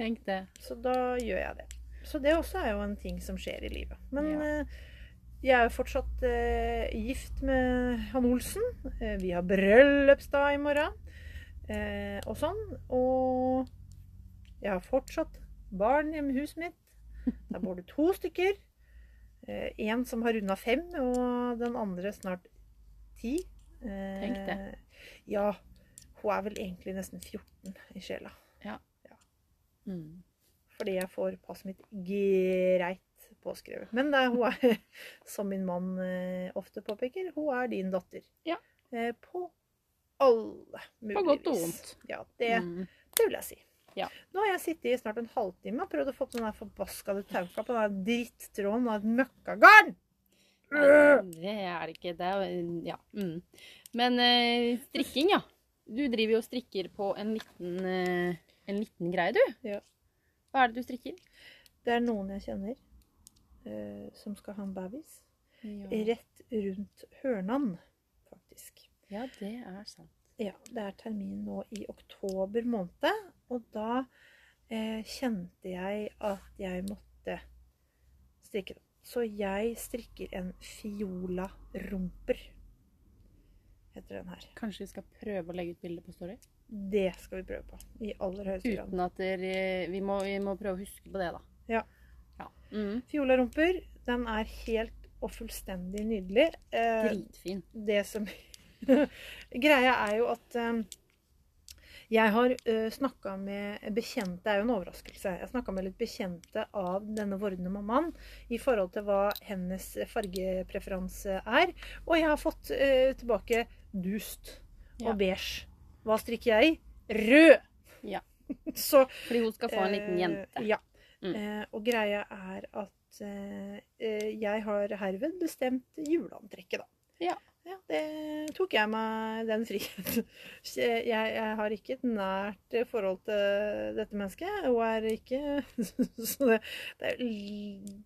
Speaker 1: Tenk det.
Speaker 2: Så da gjør jeg det. Så det også er jo en ting som skjer i livet. Men
Speaker 1: Ja.
Speaker 2: eh, jeg er jo fortsatt eh, gift med han Olsen. Eh, vi har bryllupsdag i morgen eh, og sånn. Og jeg har fortsatt barn hjemme i huset mitt. Der bor det to stykker. Én som har runda fem, og den andre snart ti. Eh,
Speaker 1: Tenk
Speaker 2: Ja. Hun er vel egentlig nesten 14 i sjela.
Speaker 1: Mm.
Speaker 2: Fordi jeg får passet mitt greit påskrevet. Men det, er- hun er, som min mann eh, ofte påpeker, hun er din datter.
Speaker 1: Ja.
Speaker 2: Eh, På alle mulige
Speaker 1: På godt og
Speaker 2: vis.
Speaker 1: vondt.
Speaker 2: Ja, det,
Speaker 1: Mm.
Speaker 2: det vil jeg si.
Speaker 1: Ja.
Speaker 2: Nå har jeg sittet i snart en halvtime og prøvd å få på den der forbaskede tauka på den der drittråden av et møkkagarn! Øh!
Speaker 1: Det er det ikke. Det er Ja. Mm. Men eh, strikking, ja. Du driver jo og strikker på en liten, eh, en liten greie, du.
Speaker 2: Ja.
Speaker 1: Hva er det du strikker?
Speaker 2: Det er noen jeg kjenner eh, som skal ha en babys. Rett rundt hørnan, faktisk.
Speaker 1: Ja, det er sant.
Speaker 2: Ja, det er termin nå i oktober måned, og da eh, kjente jeg at jeg måtte strikke den. Så jeg strikker en fiola romper, heter den her.
Speaker 1: Kanskje vi skal prøve å legge ut bilde på Story?
Speaker 2: Det skal vi prøve på i aller høyeste grad.
Speaker 1: Uten at dere eh, vi, må, vi må prøve å huske på det, da.
Speaker 2: Ja.
Speaker 1: ja. Mm.
Speaker 2: Fiola romper, den er helt og fullstendig nydelig. Eh,
Speaker 1: Dritfin.
Speaker 2: det som Greia er jo at eh, jeg har uh, snakka med bekjente Det er jo en overraskelse. Jeg snakka med litt bekjente av denne vordende mammaen i forhold til hva hennes fargepreferanse er. Og jeg har fått eh, tilbake dust
Speaker 1: Ja.
Speaker 2: og beige. Hva strikker jeg i? Rød!
Speaker 1: Ja.
Speaker 2: Så
Speaker 1: Fordi hun skal få en liten
Speaker 2: Eh,
Speaker 1: jente.
Speaker 2: Ja.
Speaker 1: Mm.
Speaker 2: Eh, og greia er at eh, eh, jeg har herved bestemt juleantrekket, da.
Speaker 1: Ja.
Speaker 2: det tok jeg meg den friheten. Så Jeg, jeg har ikke et nært forhold til dette mennesket. Hun er ikke Så det, det er l-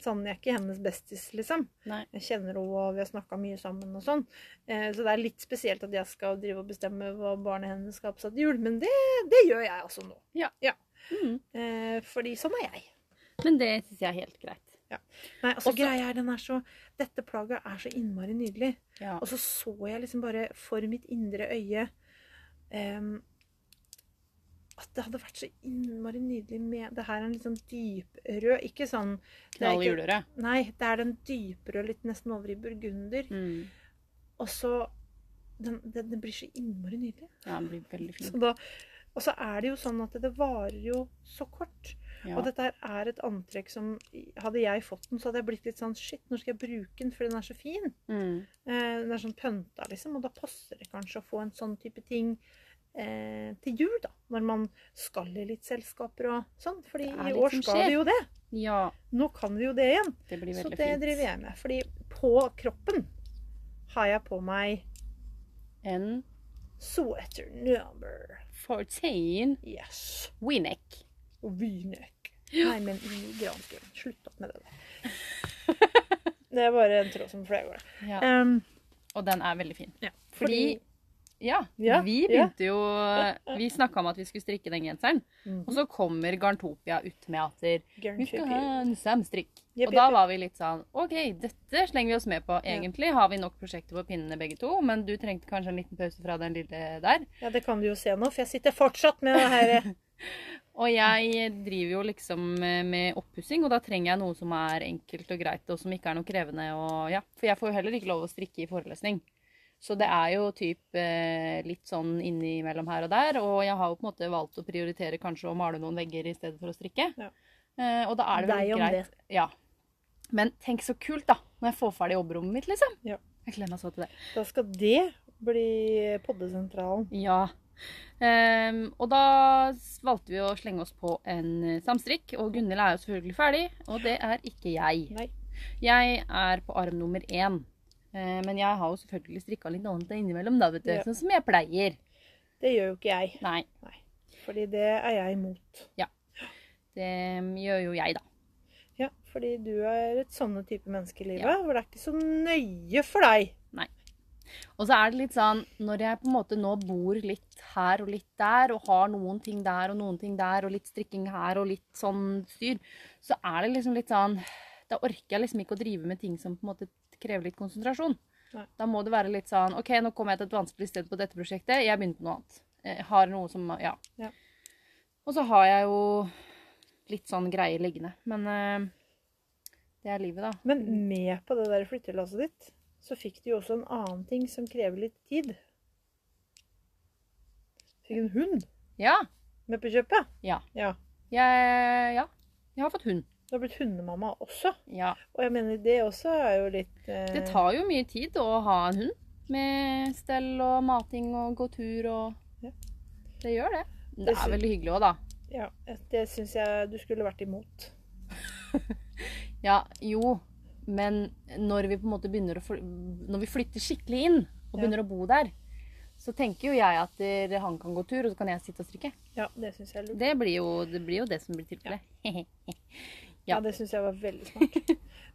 Speaker 2: sånn Jeg er ikke hennes bestis, liksom.
Speaker 1: Nei.
Speaker 2: Jeg kjenner henne, og vi har snakka mye sammen og sånn. Eh, så det er litt spesielt at jeg skal drive og bestemme hva barnet hennes skal ha på seg til jul, men det, det gjør jeg altså nå.
Speaker 1: Mm.
Speaker 2: Eh, fordi sånn er jeg.
Speaker 1: Men det syns jeg er helt greit.
Speaker 2: Nei, altså
Speaker 1: Også-
Speaker 2: greia er, den er så, Dette plagget er så innmari nydelig.
Speaker 1: Ja.
Speaker 2: Og så så jeg liksom bare for mitt indre øye em, at det hadde vært så innmari nydelig med Det her er en litt sånn dyprød Ikke sånn det er
Speaker 1: Knall
Speaker 2: ikke-
Speaker 1: julerød.
Speaker 2: Nei, det er den dyprøde, litt nesten over i burgunder.
Speaker 1: Mm.
Speaker 2: Og så den, den, den blir så innmari nydelig.
Speaker 1: Ja, den blir veldig fin.
Speaker 2: Så da, og så er det jo sånn at det varer jo så kort.
Speaker 1: Ja.
Speaker 2: Og dette her er et antrekk som Hadde jeg fått den, så hadde jeg blitt litt sånn Shit, når skal jeg bruke den? For den er så fin.
Speaker 1: Mm.
Speaker 2: Eh, den er sånn pønta, liksom. Og da passer det kanskje å få en sånn type ting eh, til jul, da. Når man skal i litt selskaper og sånn. Fordi
Speaker 1: Det er
Speaker 2: i
Speaker 1: litt
Speaker 2: år
Speaker 1: som
Speaker 2: skal
Speaker 1: skjer.
Speaker 2: vi jo det.
Speaker 1: ja.
Speaker 2: Nå kan vi jo det igjen.
Speaker 1: Det blir
Speaker 2: Så
Speaker 1: veldig
Speaker 2: det
Speaker 1: fint.
Speaker 2: driver jeg med. Fordi på kroppen har jeg på meg
Speaker 1: En
Speaker 2: sweater number.
Speaker 1: 14
Speaker 2: Yes.
Speaker 1: Winneck.
Speaker 2: Og vinøk. Nei, men i gransken. Slutt opp med det der. Det er bare en tråd som fløy over det.
Speaker 1: Ja.
Speaker 2: Em,
Speaker 1: Og den er veldig fin.
Speaker 2: fordi
Speaker 1: Fordi- Ja,
Speaker 2: Ja,
Speaker 1: vi begynte jo Vi snakka om at vi skulle strikke den genseren,
Speaker 2: Mhm.
Speaker 1: og så kommer Garntopia ut med at der,
Speaker 2: Gørn
Speaker 1: vi skal
Speaker 2: kjøper
Speaker 1: ha
Speaker 2: jul.
Speaker 1: en samstrikk.
Speaker 2: Jepp,
Speaker 1: Og da
Speaker 2: jepp,
Speaker 1: var vi litt sånn OK, dette slenger vi oss med på. Egentlig har vi nok prosjekter på pinnene begge to, men du trengte kanskje en liten pause fra den lille der.
Speaker 2: jepp. Ja, det kan du jo se nå, for jeg sitter fortsatt med det her.
Speaker 1: Og jeg driver jo liksom med oppussing, og da trenger jeg noe som er enkelt og greit, og som ikke er noe krevende. Og ja, for jeg får jo heller ikke lov å strikke i forelesning. Så det er jo typ eh, litt sånn innimellom her og der, og jeg har jo på en måte valgt å prioritere kanskje å male noen vegger i stedet for å strikke.
Speaker 2: Ja.
Speaker 1: Eh, og da er det
Speaker 2: Deg
Speaker 1: vel
Speaker 2: om
Speaker 1: greit. Ja. Men tenk så kult, da. Når jeg får ferdig jobberommet mitt, liksom.
Speaker 2: Ja.
Speaker 1: Jeg gleder meg så til det.
Speaker 2: Da skal det bli poddesentralen.
Speaker 1: Ja. Ehm, og da valgte vi å strenge oss på en eh, samstrikk, og Gunhild er jo selvfølgelig ferdig, og det er ikke jeg.
Speaker 2: Nei.
Speaker 1: Jeg er på arm nummer én. Eh, Men jeg har jo selvfølgelig strikka litt annet innimellom, da, vet du.
Speaker 2: Ja.
Speaker 1: Sånn som jeg pleier.
Speaker 2: Det gjør jo ikke jeg,
Speaker 1: Nei,
Speaker 2: fordi det er jeg imot.
Speaker 1: det mm, gjør jo jeg, da.
Speaker 2: Ja, fordi du er et sånne type menneske i livet,
Speaker 1: Ja.
Speaker 2: hvor det er ikke så nøye for deg.
Speaker 1: Og så er det litt sånn, når jeg på en måte nå bor litt her og litt der, og har noen ting der og noen ting der, og litt strikking her og litt sånn styr, så er det liksom litt sånn Da orker jeg liksom ikke å drive med ting som på en måte krever litt konsentrasjon.
Speaker 2: Nei.
Speaker 1: Da må det være litt sånn OK, nå kommer jeg til et vanskelig sted på dette prosjektet, jeg begynner på noe annet. Jeg har noe som Ja.
Speaker 2: Ja.
Speaker 1: Og så har jeg jo litt sånn greier liggende. Men eh, det er livet, da.
Speaker 2: Men med på det der flyttelasset ditt, så fikk du jo også en annen ting som krever litt tid. Fikk en hund
Speaker 1: Ja.
Speaker 2: med på kjøpet.
Speaker 1: Ja.
Speaker 2: ja.
Speaker 1: Jeg, ja. jeg har fått hund.
Speaker 2: Du har blitt hundemamma også.
Speaker 1: Ja.
Speaker 2: Og jeg mener, det også er jo litt eh,
Speaker 1: Det tar jo mye tid å ha en hund. Med stell og mating og gå tur og
Speaker 2: Ja.
Speaker 1: Det gjør det. Det
Speaker 2: Det sy-
Speaker 1: er veldig hyggelig òg, da.
Speaker 2: Ja, det syns jeg du skulle vært imot.
Speaker 1: Ja, jo. Men når vi på en måte begynner å fly- Når vi flytter skikkelig inn og
Speaker 2: Ja.
Speaker 1: begynner å bo der, så tenker jo jeg at eh, han kan gå tur, og så kan jeg sitte og strikke.
Speaker 2: Ja, det syns jeg er lurt.
Speaker 1: Det blir jo det, blir jo det som blir tilfellet. Ja.
Speaker 2: Ja, det syns jeg var veldig smart.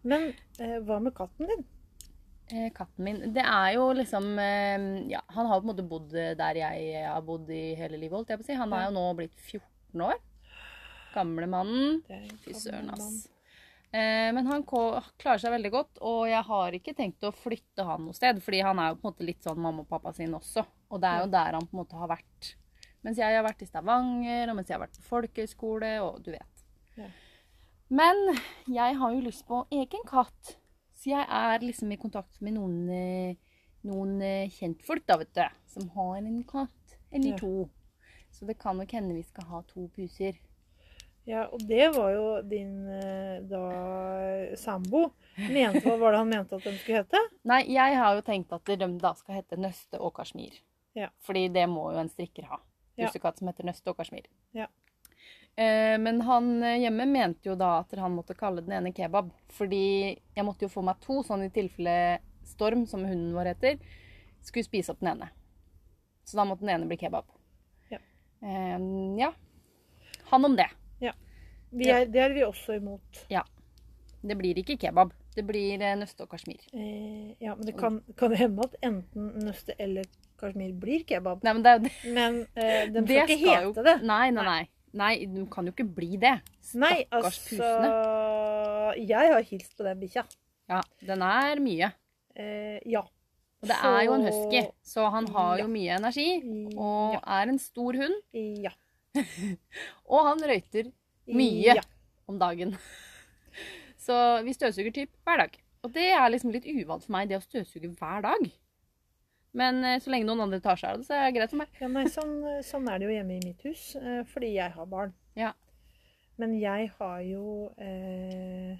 Speaker 2: Men eh, hva med katten din?
Speaker 1: Eh, Katten min Det er jo liksom eh, Ja, han har på en måte bodd der jeg har bodd i hele livet, holdt jeg på å si. Han er jo nå blitt 14 år. Gamle mannen.
Speaker 2: Det er en
Speaker 1: Fy
Speaker 2: gammel
Speaker 1: søren, ass.
Speaker 2: mann.
Speaker 1: Eh, Men han ko- klarer seg veldig godt, og jeg har ikke tenkt å flytte han noe sted. Fordi han er jo på en måte litt sånn mamma og pappa sin også. Og det er jo der han på en måte har vært. Mens jeg har vært i Stavanger, og mens jeg har vært på folkehøyskole, og du vet.
Speaker 2: Ja.
Speaker 1: Men jeg har jo lyst på egen katt. Så jeg er liksom i kontakt med noen, eh, noen eh, kjentfolk, da, vet du. Som har en katt. Eller
Speaker 2: Ja.
Speaker 1: to. Så det kan nok hende vi skal ha to puser.
Speaker 2: Ja, og det var jo din eh, da sambo. Mente, hva var det han mente at de skulle hete?
Speaker 1: Nei, jeg har jo tenkt at de da skal hete Nøste og Kashmir.
Speaker 2: Ja.
Speaker 1: Fordi det må jo en strikker ha.
Speaker 2: Ja.
Speaker 1: Pussekatt som heter Nøste og Kashmir.
Speaker 2: Ja.
Speaker 1: Eh, men han eh, hjemme mente jo da at han måtte kalle den ene kebab. Fordi jeg måtte jo få meg to, sånn i tilfelle Storm, som hunden vår heter, skulle spise opp den ene. Så da måtte den ene bli kebab.
Speaker 2: Ja.
Speaker 1: Eh, ja. Han om det.
Speaker 2: Vi er, det er vi også imot.
Speaker 1: Det blir ikke kebab. Det blir eh, Nøste og Kashmir.
Speaker 2: Eh, ja, men det kan, kan jo hende at enten nøste eller kasjmir blir kebab.
Speaker 1: Nei, men det er jo det.
Speaker 2: Men eh, de skal ikke hete
Speaker 1: jo-
Speaker 2: det.
Speaker 1: Nei, nei, nei. Nei, de kan jo ikke bli det.
Speaker 2: Nei,
Speaker 1: Stakkars
Speaker 2: altså
Speaker 1: pusene.
Speaker 2: Jeg har hilst på den bikkja.
Speaker 1: Ja, den er mye.
Speaker 2: Eh, ja.
Speaker 1: Og det er jo en husky, så han har jo mye energi. Og
Speaker 2: ja.
Speaker 1: er en stor hund.
Speaker 2: ja.
Speaker 1: Og han røyter Mye.
Speaker 2: Ja.
Speaker 1: om dagen. Så vi støvsuger typ hver dag. Og det er liksom litt uvant for meg, det å støvsuge hver dag. Men eh, så lenge noen andre tar seg av det, så er det greit for meg.
Speaker 2: Ja, nei, sånn, sånn er det jo hjemme i mitt hus, eh, fordi jeg har barn.
Speaker 1: Ja.
Speaker 2: Men jeg har jo eh,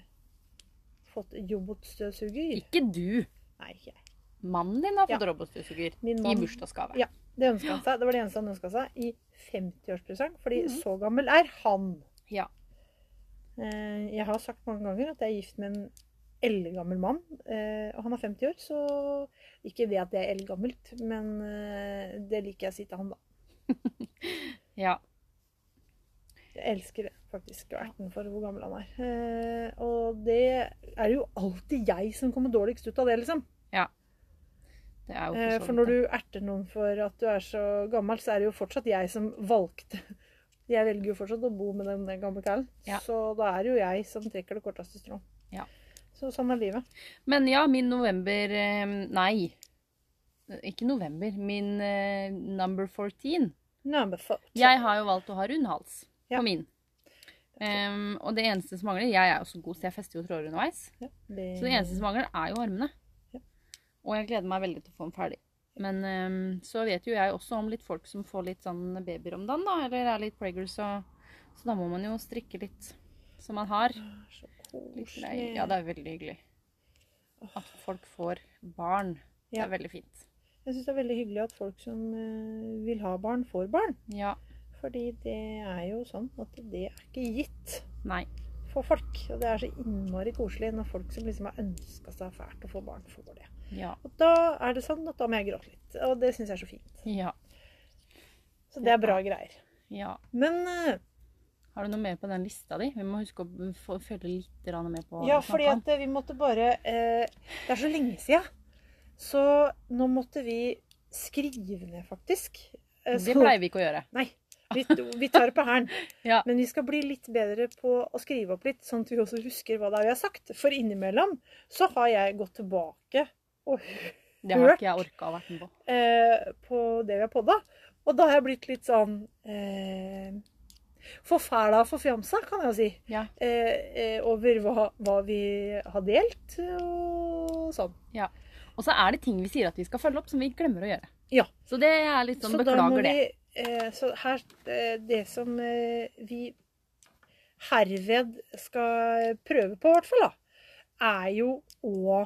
Speaker 2: fått robotstøvsuger.
Speaker 1: Ikke du.
Speaker 2: Nei, ikke jeg.
Speaker 1: Mannen din har fått
Speaker 2: Ja.
Speaker 1: robotstøvsuger
Speaker 2: Min
Speaker 1: i
Speaker 2: mann.
Speaker 1: bursdagsgave.
Speaker 2: Ja. Det ønsket han seg. Det var det eneste han ønska seg i 50-årspresang, fordi så gammel er han.
Speaker 1: Ja.
Speaker 2: Eh, jeg har sagt mange ganger at jeg er gift med en eldgammel mann, eh, og han er 50 år, så ikke det at det er eldgammelt, men eh, det liker jeg å si til han, da.
Speaker 1: Ja.
Speaker 2: Jeg elsker det, faktisk verten for hvor gammel han er. Eh, og det er jo alltid jeg som kommer dårligst ut av det, liksom.
Speaker 1: Det er jo for
Speaker 2: Eh,
Speaker 1: så
Speaker 2: for
Speaker 1: vidt
Speaker 2: når
Speaker 1: det.
Speaker 2: du erter noen for at du er så gammel, så er det jo fortsatt jeg som valgte. Jeg velger jo fortsatt å bo med den gamle kælen.
Speaker 1: Ja.
Speaker 2: Så da er det jo jeg som trekker det korteste strået.
Speaker 1: Ja.
Speaker 2: Så sånn er livet.
Speaker 1: Men ja, min november eh, Nei. Ikke november. Min eh, number 14.
Speaker 2: Number four.
Speaker 1: Jeg har jo valgt å ha rund hals
Speaker 2: Ja.
Speaker 1: på min. Ehm, og det eneste som mangler Jeg er jo så god, så jeg fester jo tråder underveis.
Speaker 2: Ja,
Speaker 1: Så det eneste som mangler, er jo armene.
Speaker 2: Ja.
Speaker 1: Og jeg gleder meg veldig til å få den ferdig. Men ehm, så vet jo jeg også om litt folk som får litt sånn babyer om dagen, da. Eller er litt preggers, så, så da må man jo strikke litt. som man har.
Speaker 2: Så
Speaker 1: Litt
Speaker 2: koselig.
Speaker 1: lei. Ja, det er veldig hyggelig. At folk får barn. Det
Speaker 2: Ja.
Speaker 1: er veldig fint.
Speaker 2: Jeg syns det er veldig hyggelig at folk som eh, vil ha barn, får barn.
Speaker 1: Ja.
Speaker 2: Fordi det er jo sånn at det er ikke gitt
Speaker 1: Nei.
Speaker 2: for folk. Og det er så innmari koselig når folk som liksom har ønska seg fælt å få barn, får det.
Speaker 1: Ja.
Speaker 2: Og da er det sånn at da må jeg gråte litt. Og det syns jeg er så fint.
Speaker 1: Ja.
Speaker 2: Så det er bra greier.
Speaker 1: Ja.
Speaker 2: Men eh,
Speaker 1: Har du noe mer på den lista di? Vi må huske å mm, få- følge litt grann med på
Speaker 2: ja,
Speaker 1: hva vi
Speaker 2: fordi
Speaker 1: snakker om.
Speaker 2: at eh, vi måtte bare eh, Det er så lenge sia. Så nå måtte vi skrive ned, faktisk. Eh,
Speaker 1: Det
Speaker 2: så-
Speaker 1: pleier vi ikke å gjøre.
Speaker 2: Nei. Vi, vi tar det på hælen.
Speaker 1: Ja.
Speaker 2: Men vi skal bli litt bedre på å skrive opp litt, sånn at vi også husker hva det er vi har sagt. For innimellom så har jeg gått tilbake og,
Speaker 1: Det har
Speaker 2: Hørt.
Speaker 1: ikke jeg orka å vært med på.
Speaker 2: eh, på det vi har podda. Og da har jeg blitt litt sånn eh, forfæla og forfjamsa, kan jeg jo si.
Speaker 1: Ja.
Speaker 2: Eh, eh, over hva, hva vi har delt og sånn.
Speaker 1: Og så er det ting vi sier at vi skal følge opp, som vi glemmer å gjøre.
Speaker 2: Ja.
Speaker 1: Så det er litt sånn
Speaker 2: Så da må
Speaker 1: Beklager det.
Speaker 2: vi, eh, så her, eh, det som eh, vi herved skal prøve på, i hvert fall, da, er jo å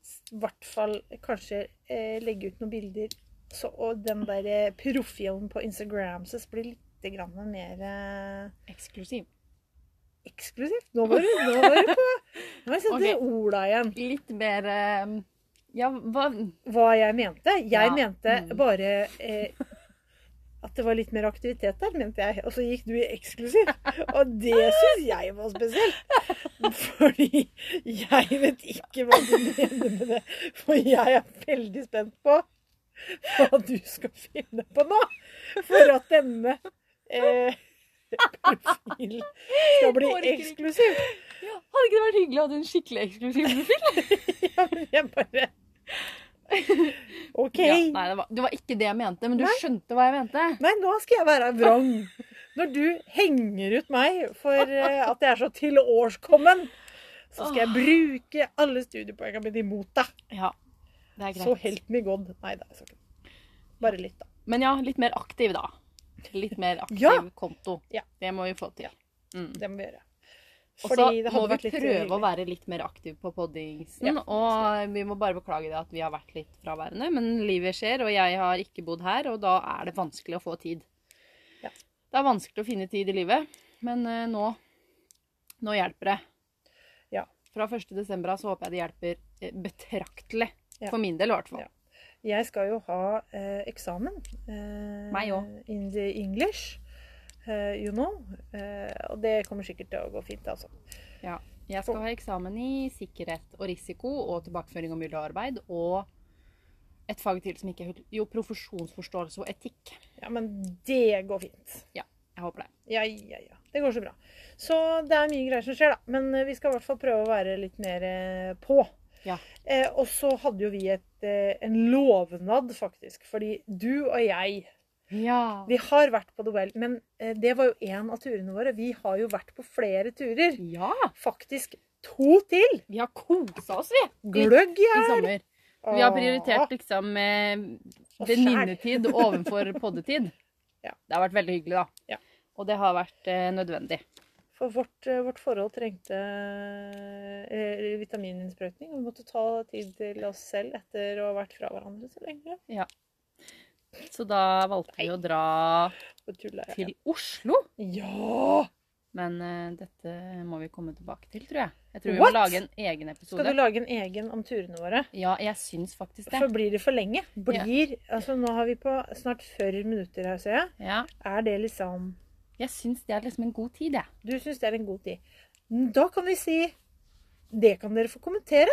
Speaker 2: s- i hvert fall kanskje eh, legge ut noen bilder, så, og den der eh, profilen på Instagram så blir litt grann mer eh,
Speaker 1: Eksklusiv.
Speaker 2: eksklusiv. Nå var du, nå var du på Nå har jeg sett
Speaker 1: Ok.
Speaker 2: orda igjen.
Speaker 1: Litt mer eh, Ja, hva
Speaker 2: Hva jeg mente? Jeg
Speaker 1: Ja.
Speaker 2: mente
Speaker 1: Mm.
Speaker 2: bare eh, at det var litt mer aktivitet der, mente jeg. Og så gikk du i eksklusiv. Og det syns jeg var spesielt. Fordi jeg vet ikke hva du mener med det. For jeg er veldig spent på hva du skal finne på nå. For at denne eh, profilen skal bli
Speaker 1: Orker ikke.
Speaker 2: eksklusiv.
Speaker 1: Hadde ikke det vært hyggelig å ha en skikkelig eksklusiv profil?
Speaker 2: Ja, men jeg bare OK.
Speaker 1: Ja, nei, det var, det var ikke det jeg mente, men du
Speaker 2: Nei.
Speaker 1: skjønte hva jeg mente.
Speaker 2: Nei, nå skal jeg være vrang. Når du henger ut meg for eh, at jeg er så tilårskommen, så skal jeg bruke alle studiepoengene mine imot deg.
Speaker 1: Ja, det er greit.
Speaker 2: Så help me god. Nei, det er så ikke. Bare litt, da.
Speaker 1: Men ja, litt mer aktiv, da. Litt mer aktiv
Speaker 2: Ja.
Speaker 1: konto.
Speaker 2: Ja.
Speaker 1: Det må vi få til.
Speaker 2: Ja.
Speaker 1: Mm.
Speaker 2: Det må vi gjøre.
Speaker 1: Og så
Speaker 2: Fordi det
Speaker 1: må
Speaker 2: hadde
Speaker 1: vi
Speaker 2: vært litt
Speaker 1: prøve å
Speaker 2: hyggelig.
Speaker 1: være litt mer aktiv på poddingsen.
Speaker 2: Ja.
Speaker 1: Og vi må bare beklage det at vi har vært litt fraværende, men livet skjer, og jeg har ikke bodd her, og da er det vanskelig å få tid.
Speaker 2: Ja.
Speaker 1: Det er vanskelig å finne tid i livet, men eh, nå, nå hjelper det.
Speaker 2: Ja.
Speaker 1: Fra 1. desember av så håper jeg det hjelper eh, betraktelig.
Speaker 2: Ja.
Speaker 1: For min del i hvert fall.
Speaker 2: Ja. Jeg skal jo ha eh, eksamen. Eh,
Speaker 1: Meg også.
Speaker 2: In the English. eh, you know. Eh, og det kommer sikkert til å gå fint, altså.
Speaker 1: Jeg skal ha eksamen i sikkerhet og risiko og tilbakeføring og miljøarbeid og et fag til som ikke er Jo, profesjonsforståelse og etikk.
Speaker 2: Ja, men det går fint.
Speaker 1: Jeg håper det.
Speaker 2: Ja, ja, ja. Det går så bra. Så det er mye greier som skjer, da. Men eh, vi skal i hvert fall prøve å være litt mer eh, på.
Speaker 1: Ja.
Speaker 2: Eh, og så hadde jo vi et, eh, en lovnad, faktisk. Fordi du og jeg
Speaker 1: Ja.
Speaker 2: Vi har vært på Nobel, men eh, det var jo én av turene våre. Vi har jo vært på flere turer.
Speaker 1: Ja!
Speaker 2: Faktisk to til.
Speaker 1: Vi har kosa oss, vi,
Speaker 2: Gløgg,
Speaker 1: i
Speaker 2: ja. Ah,
Speaker 1: sommer. Vi har prioritert liksom eh,
Speaker 2: Og
Speaker 1: venninnetid overfor poddetid.
Speaker 2: Ja.
Speaker 1: Det har vært veldig hyggelig, da.
Speaker 2: Ja.
Speaker 1: Og det har vært eh, nødvendig.
Speaker 2: For vårt, eh, vårt forhold trengte eh, vitamininnsprøytning. og Vi måtte ta tid til oss selv etter å ha vært fra hverandre så lenge.
Speaker 1: Så da valgte vi å dra
Speaker 2: Så tullet jeg.
Speaker 1: til Oslo.
Speaker 2: Ja!
Speaker 1: Men eh, dette må vi komme tilbake til, tror jeg. Jeg tror vi
Speaker 2: What?
Speaker 1: må lage en egen
Speaker 2: Skal du
Speaker 1: episode.
Speaker 2: lage en egen om turene våre?
Speaker 1: Ja, jeg syns faktisk
Speaker 2: For
Speaker 1: det.
Speaker 2: blir det for lenge? Blir Altså, nå har vi på snart 40 minutter her, ser jeg.
Speaker 1: Ja,
Speaker 2: Er det liksom
Speaker 1: jeg syns det er liksom en god tid, jeg.
Speaker 2: Du syns det er en god tid. Da kan vi si Det kan dere få kommentere.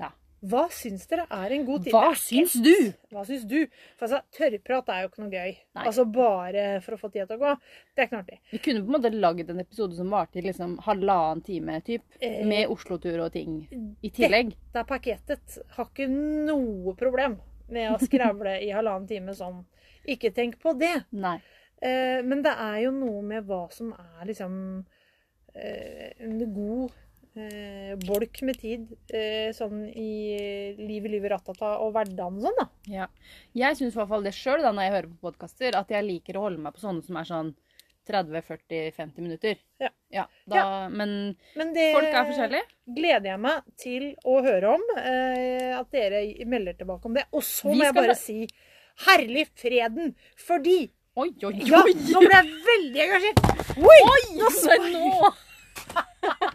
Speaker 1: Ja.
Speaker 2: Hva syns dere er en god tid?
Speaker 1: Hva syns du?
Speaker 2: Hva syns du? For altså, tørrprat er jo ikke noe gøy.
Speaker 1: Nei.
Speaker 2: Altså bare for å få tida til å gå. Det er ikke noe artig.
Speaker 1: Vi kunne på en måte lagd en episode som varte i liksom halvannen time, typ.
Speaker 2: Eh,
Speaker 1: Med Oslo-tur og ting i tillegg.
Speaker 2: Det er pakketet. Har ikke noe problem med å skravle i halvannen time sånn. Ikke tenk på det.
Speaker 1: Nei.
Speaker 2: Eh, men det er jo noe med hva som er liksom eh, en god eh, bolk med tid eh, sånn i livet, livet, ratata og hverdagen og sånn, da.
Speaker 1: Ja. Jeg syns i hvert fall det sjøl, når jeg hører på podkaster, at jeg liker å holde meg på sånne som er sånn 30-40-50 minutter.
Speaker 2: Ja. Eh,
Speaker 1: da, Men
Speaker 2: Men det
Speaker 1: folk er forskjellige.
Speaker 2: gleder jeg meg til å høre om. Eh, at dere melder tilbake om det. Og så
Speaker 1: Vi
Speaker 2: må jeg
Speaker 1: skal
Speaker 2: bare
Speaker 1: da-
Speaker 2: si herlig freden! Fordi
Speaker 1: Oi, oi, oi!
Speaker 2: Ja, nå ble jeg veldig engasjert! Oi!
Speaker 1: Nå så jeg nå!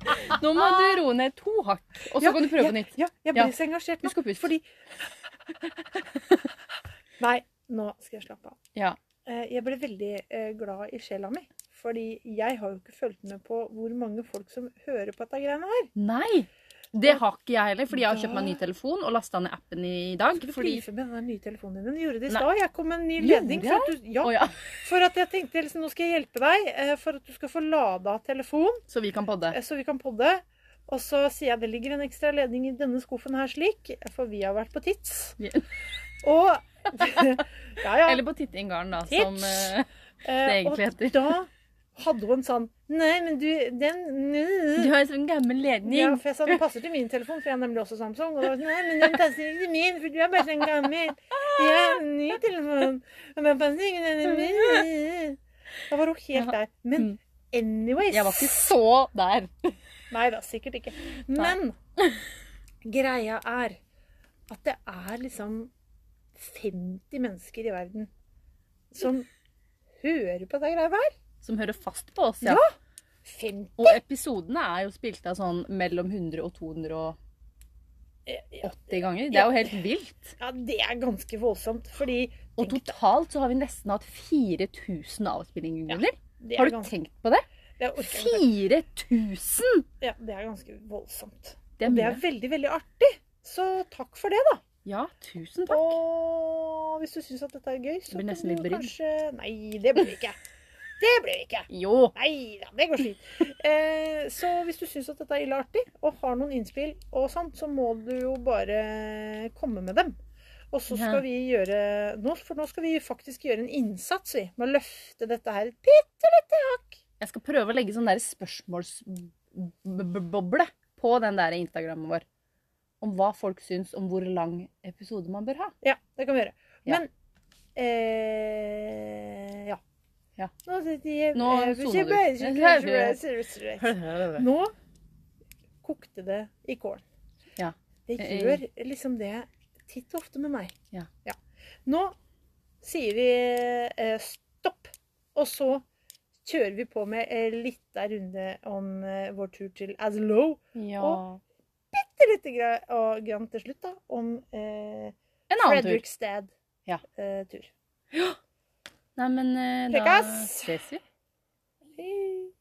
Speaker 1: Nå må du roe ned to hakk, og så
Speaker 2: Ja,
Speaker 1: kan du prøve
Speaker 2: ja,
Speaker 1: på nytt.
Speaker 2: Ja, jeg ble
Speaker 1: Ja.
Speaker 2: så engasjert nå.
Speaker 1: Husk å puste.
Speaker 2: Fordi Nei, nå skal jeg slappe av.
Speaker 1: Ja.
Speaker 2: Eh, Jeg ble veldig eh, glad i sjela mi. Fordi jeg har jo ikke fulgt med på hvor mange folk som hører på dette greiene her.
Speaker 1: Nei! Det har ikke jeg heller, fordi jeg har kjøpt meg en ny
Speaker 2: Da-
Speaker 1: telefon og lasta ned appen i dag.
Speaker 2: Du
Speaker 1: Fordi
Speaker 2: fliser med den der nye telefonen din. Den gjorde det i
Speaker 1: Nei.
Speaker 2: stad. Jeg kom med en ny
Speaker 1: Gjorde
Speaker 2: ledning.
Speaker 1: jeg?
Speaker 2: For at, du, ja,
Speaker 1: Å ja,
Speaker 2: for at jeg tenkte liksom, nå skal jeg hjelpe deg eh, for at du skal få lada telefonen,
Speaker 1: så vi kan podde.
Speaker 2: eh, så vi kan podde. Og så sier jeg det ligger en ekstra ledning i denne skuffen her slik, for vi har vært på Tits.
Speaker 1: Ja.
Speaker 2: Og Ja, ja.
Speaker 1: Eller på Tittinggarden, da, som
Speaker 2: Tits.
Speaker 1: eh,
Speaker 2: eh,
Speaker 1: det egentlig heter.
Speaker 2: Og da hadde hun sånn Nei, men du, den
Speaker 1: Du
Speaker 2: nø.
Speaker 1: har en sånn gammel
Speaker 2: Ja,
Speaker 1: ledning.
Speaker 2: for jeg sa den passer til min telefon, for jeg har nemlig også Samsung. Og da var jeg sånn, nei, men den passer ikke til min, for du er bare sånn gammel. Jeg har en ny telefon. Og den passer ikke til min. Da var hun helt der. Men
Speaker 1: Mm.
Speaker 2: anyways
Speaker 1: Jeg var ikke så der.
Speaker 2: Nei da, sikkert ikke. Men greia er at det er liksom 50 mennesker i verden som hører på det greia her.
Speaker 1: Som hører fast på oss, ja.
Speaker 2: Ja. 50
Speaker 1: Og episodene er jo spilt av sånn mellom 100 og 280
Speaker 2: Ja,
Speaker 1: ganger. Det er jo helt vilt.
Speaker 2: det er ganske voldsomt, fordi
Speaker 1: Og
Speaker 2: tenk,
Speaker 1: totalt så har vi nesten hatt 4000 avspillinger. Gunnhild.
Speaker 2: det er
Speaker 1: Har du
Speaker 2: ganske,
Speaker 1: tenkt på det?
Speaker 2: det, orker jeg ikke.
Speaker 1: 4000!
Speaker 2: ja, det er ganske voldsomt.
Speaker 1: Det er
Speaker 2: Og det
Speaker 1: mye.
Speaker 2: er veldig, veldig artig. Så takk for det, da.
Speaker 1: Ja, tusen takk.
Speaker 2: Og hvis du syns at dette er gøy, så
Speaker 1: Blir
Speaker 2: kan
Speaker 1: nesten
Speaker 2: du
Speaker 1: litt brydd.
Speaker 2: kanskje Nei, det blir vi ikke. Det blir vi ikke.
Speaker 1: Jo.
Speaker 2: Nei da, det går fint. Eh, så hvis du syns at dette er ille artig, og har noen innspill og sånn, så må du jo bare komme med dem. Og så skal
Speaker 1: Ja.
Speaker 2: vi gjøre nå, For nå skal vi faktisk gjøre en innsats, vi. Med å løfte dette her et bitte lite hakk.
Speaker 1: Jeg skal prøve å legge sånn der spørsmålsboble på den der Instagrammen vår. Om hva folk syns om hvor lang episode man bør ha.
Speaker 2: Ja, det kan vi gjøre.
Speaker 1: Ja.
Speaker 2: Men eh, ja.
Speaker 1: Ja.
Speaker 2: Nå sitter eh,
Speaker 1: Nå sona du.
Speaker 2: du. Nå kokte det i kålen.
Speaker 1: Ja.
Speaker 2: Det
Speaker 1: Eh,
Speaker 2: gjør liksom det titt og ofte med meg.
Speaker 1: Ja.
Speaker 2: Nå sier vi eh, stopp, og så kjører vi på med en liten runde om eh, vår tur til Aslow.
Speaker 1: Ja.
Speaker 2: Og- Bitte lite gra- og grann til slutt, da, om eh,
Speaker 1: En annen tur.
Speaker 2: Fredrikstad-tur.
Speaker 1: Ja.
Speaker 2: Eh, tur.
Speaker 1: Nei, men eh, da
Speaker 2: Prekkas!
Speaker 1: ses vi.
Speaker 2: Hei.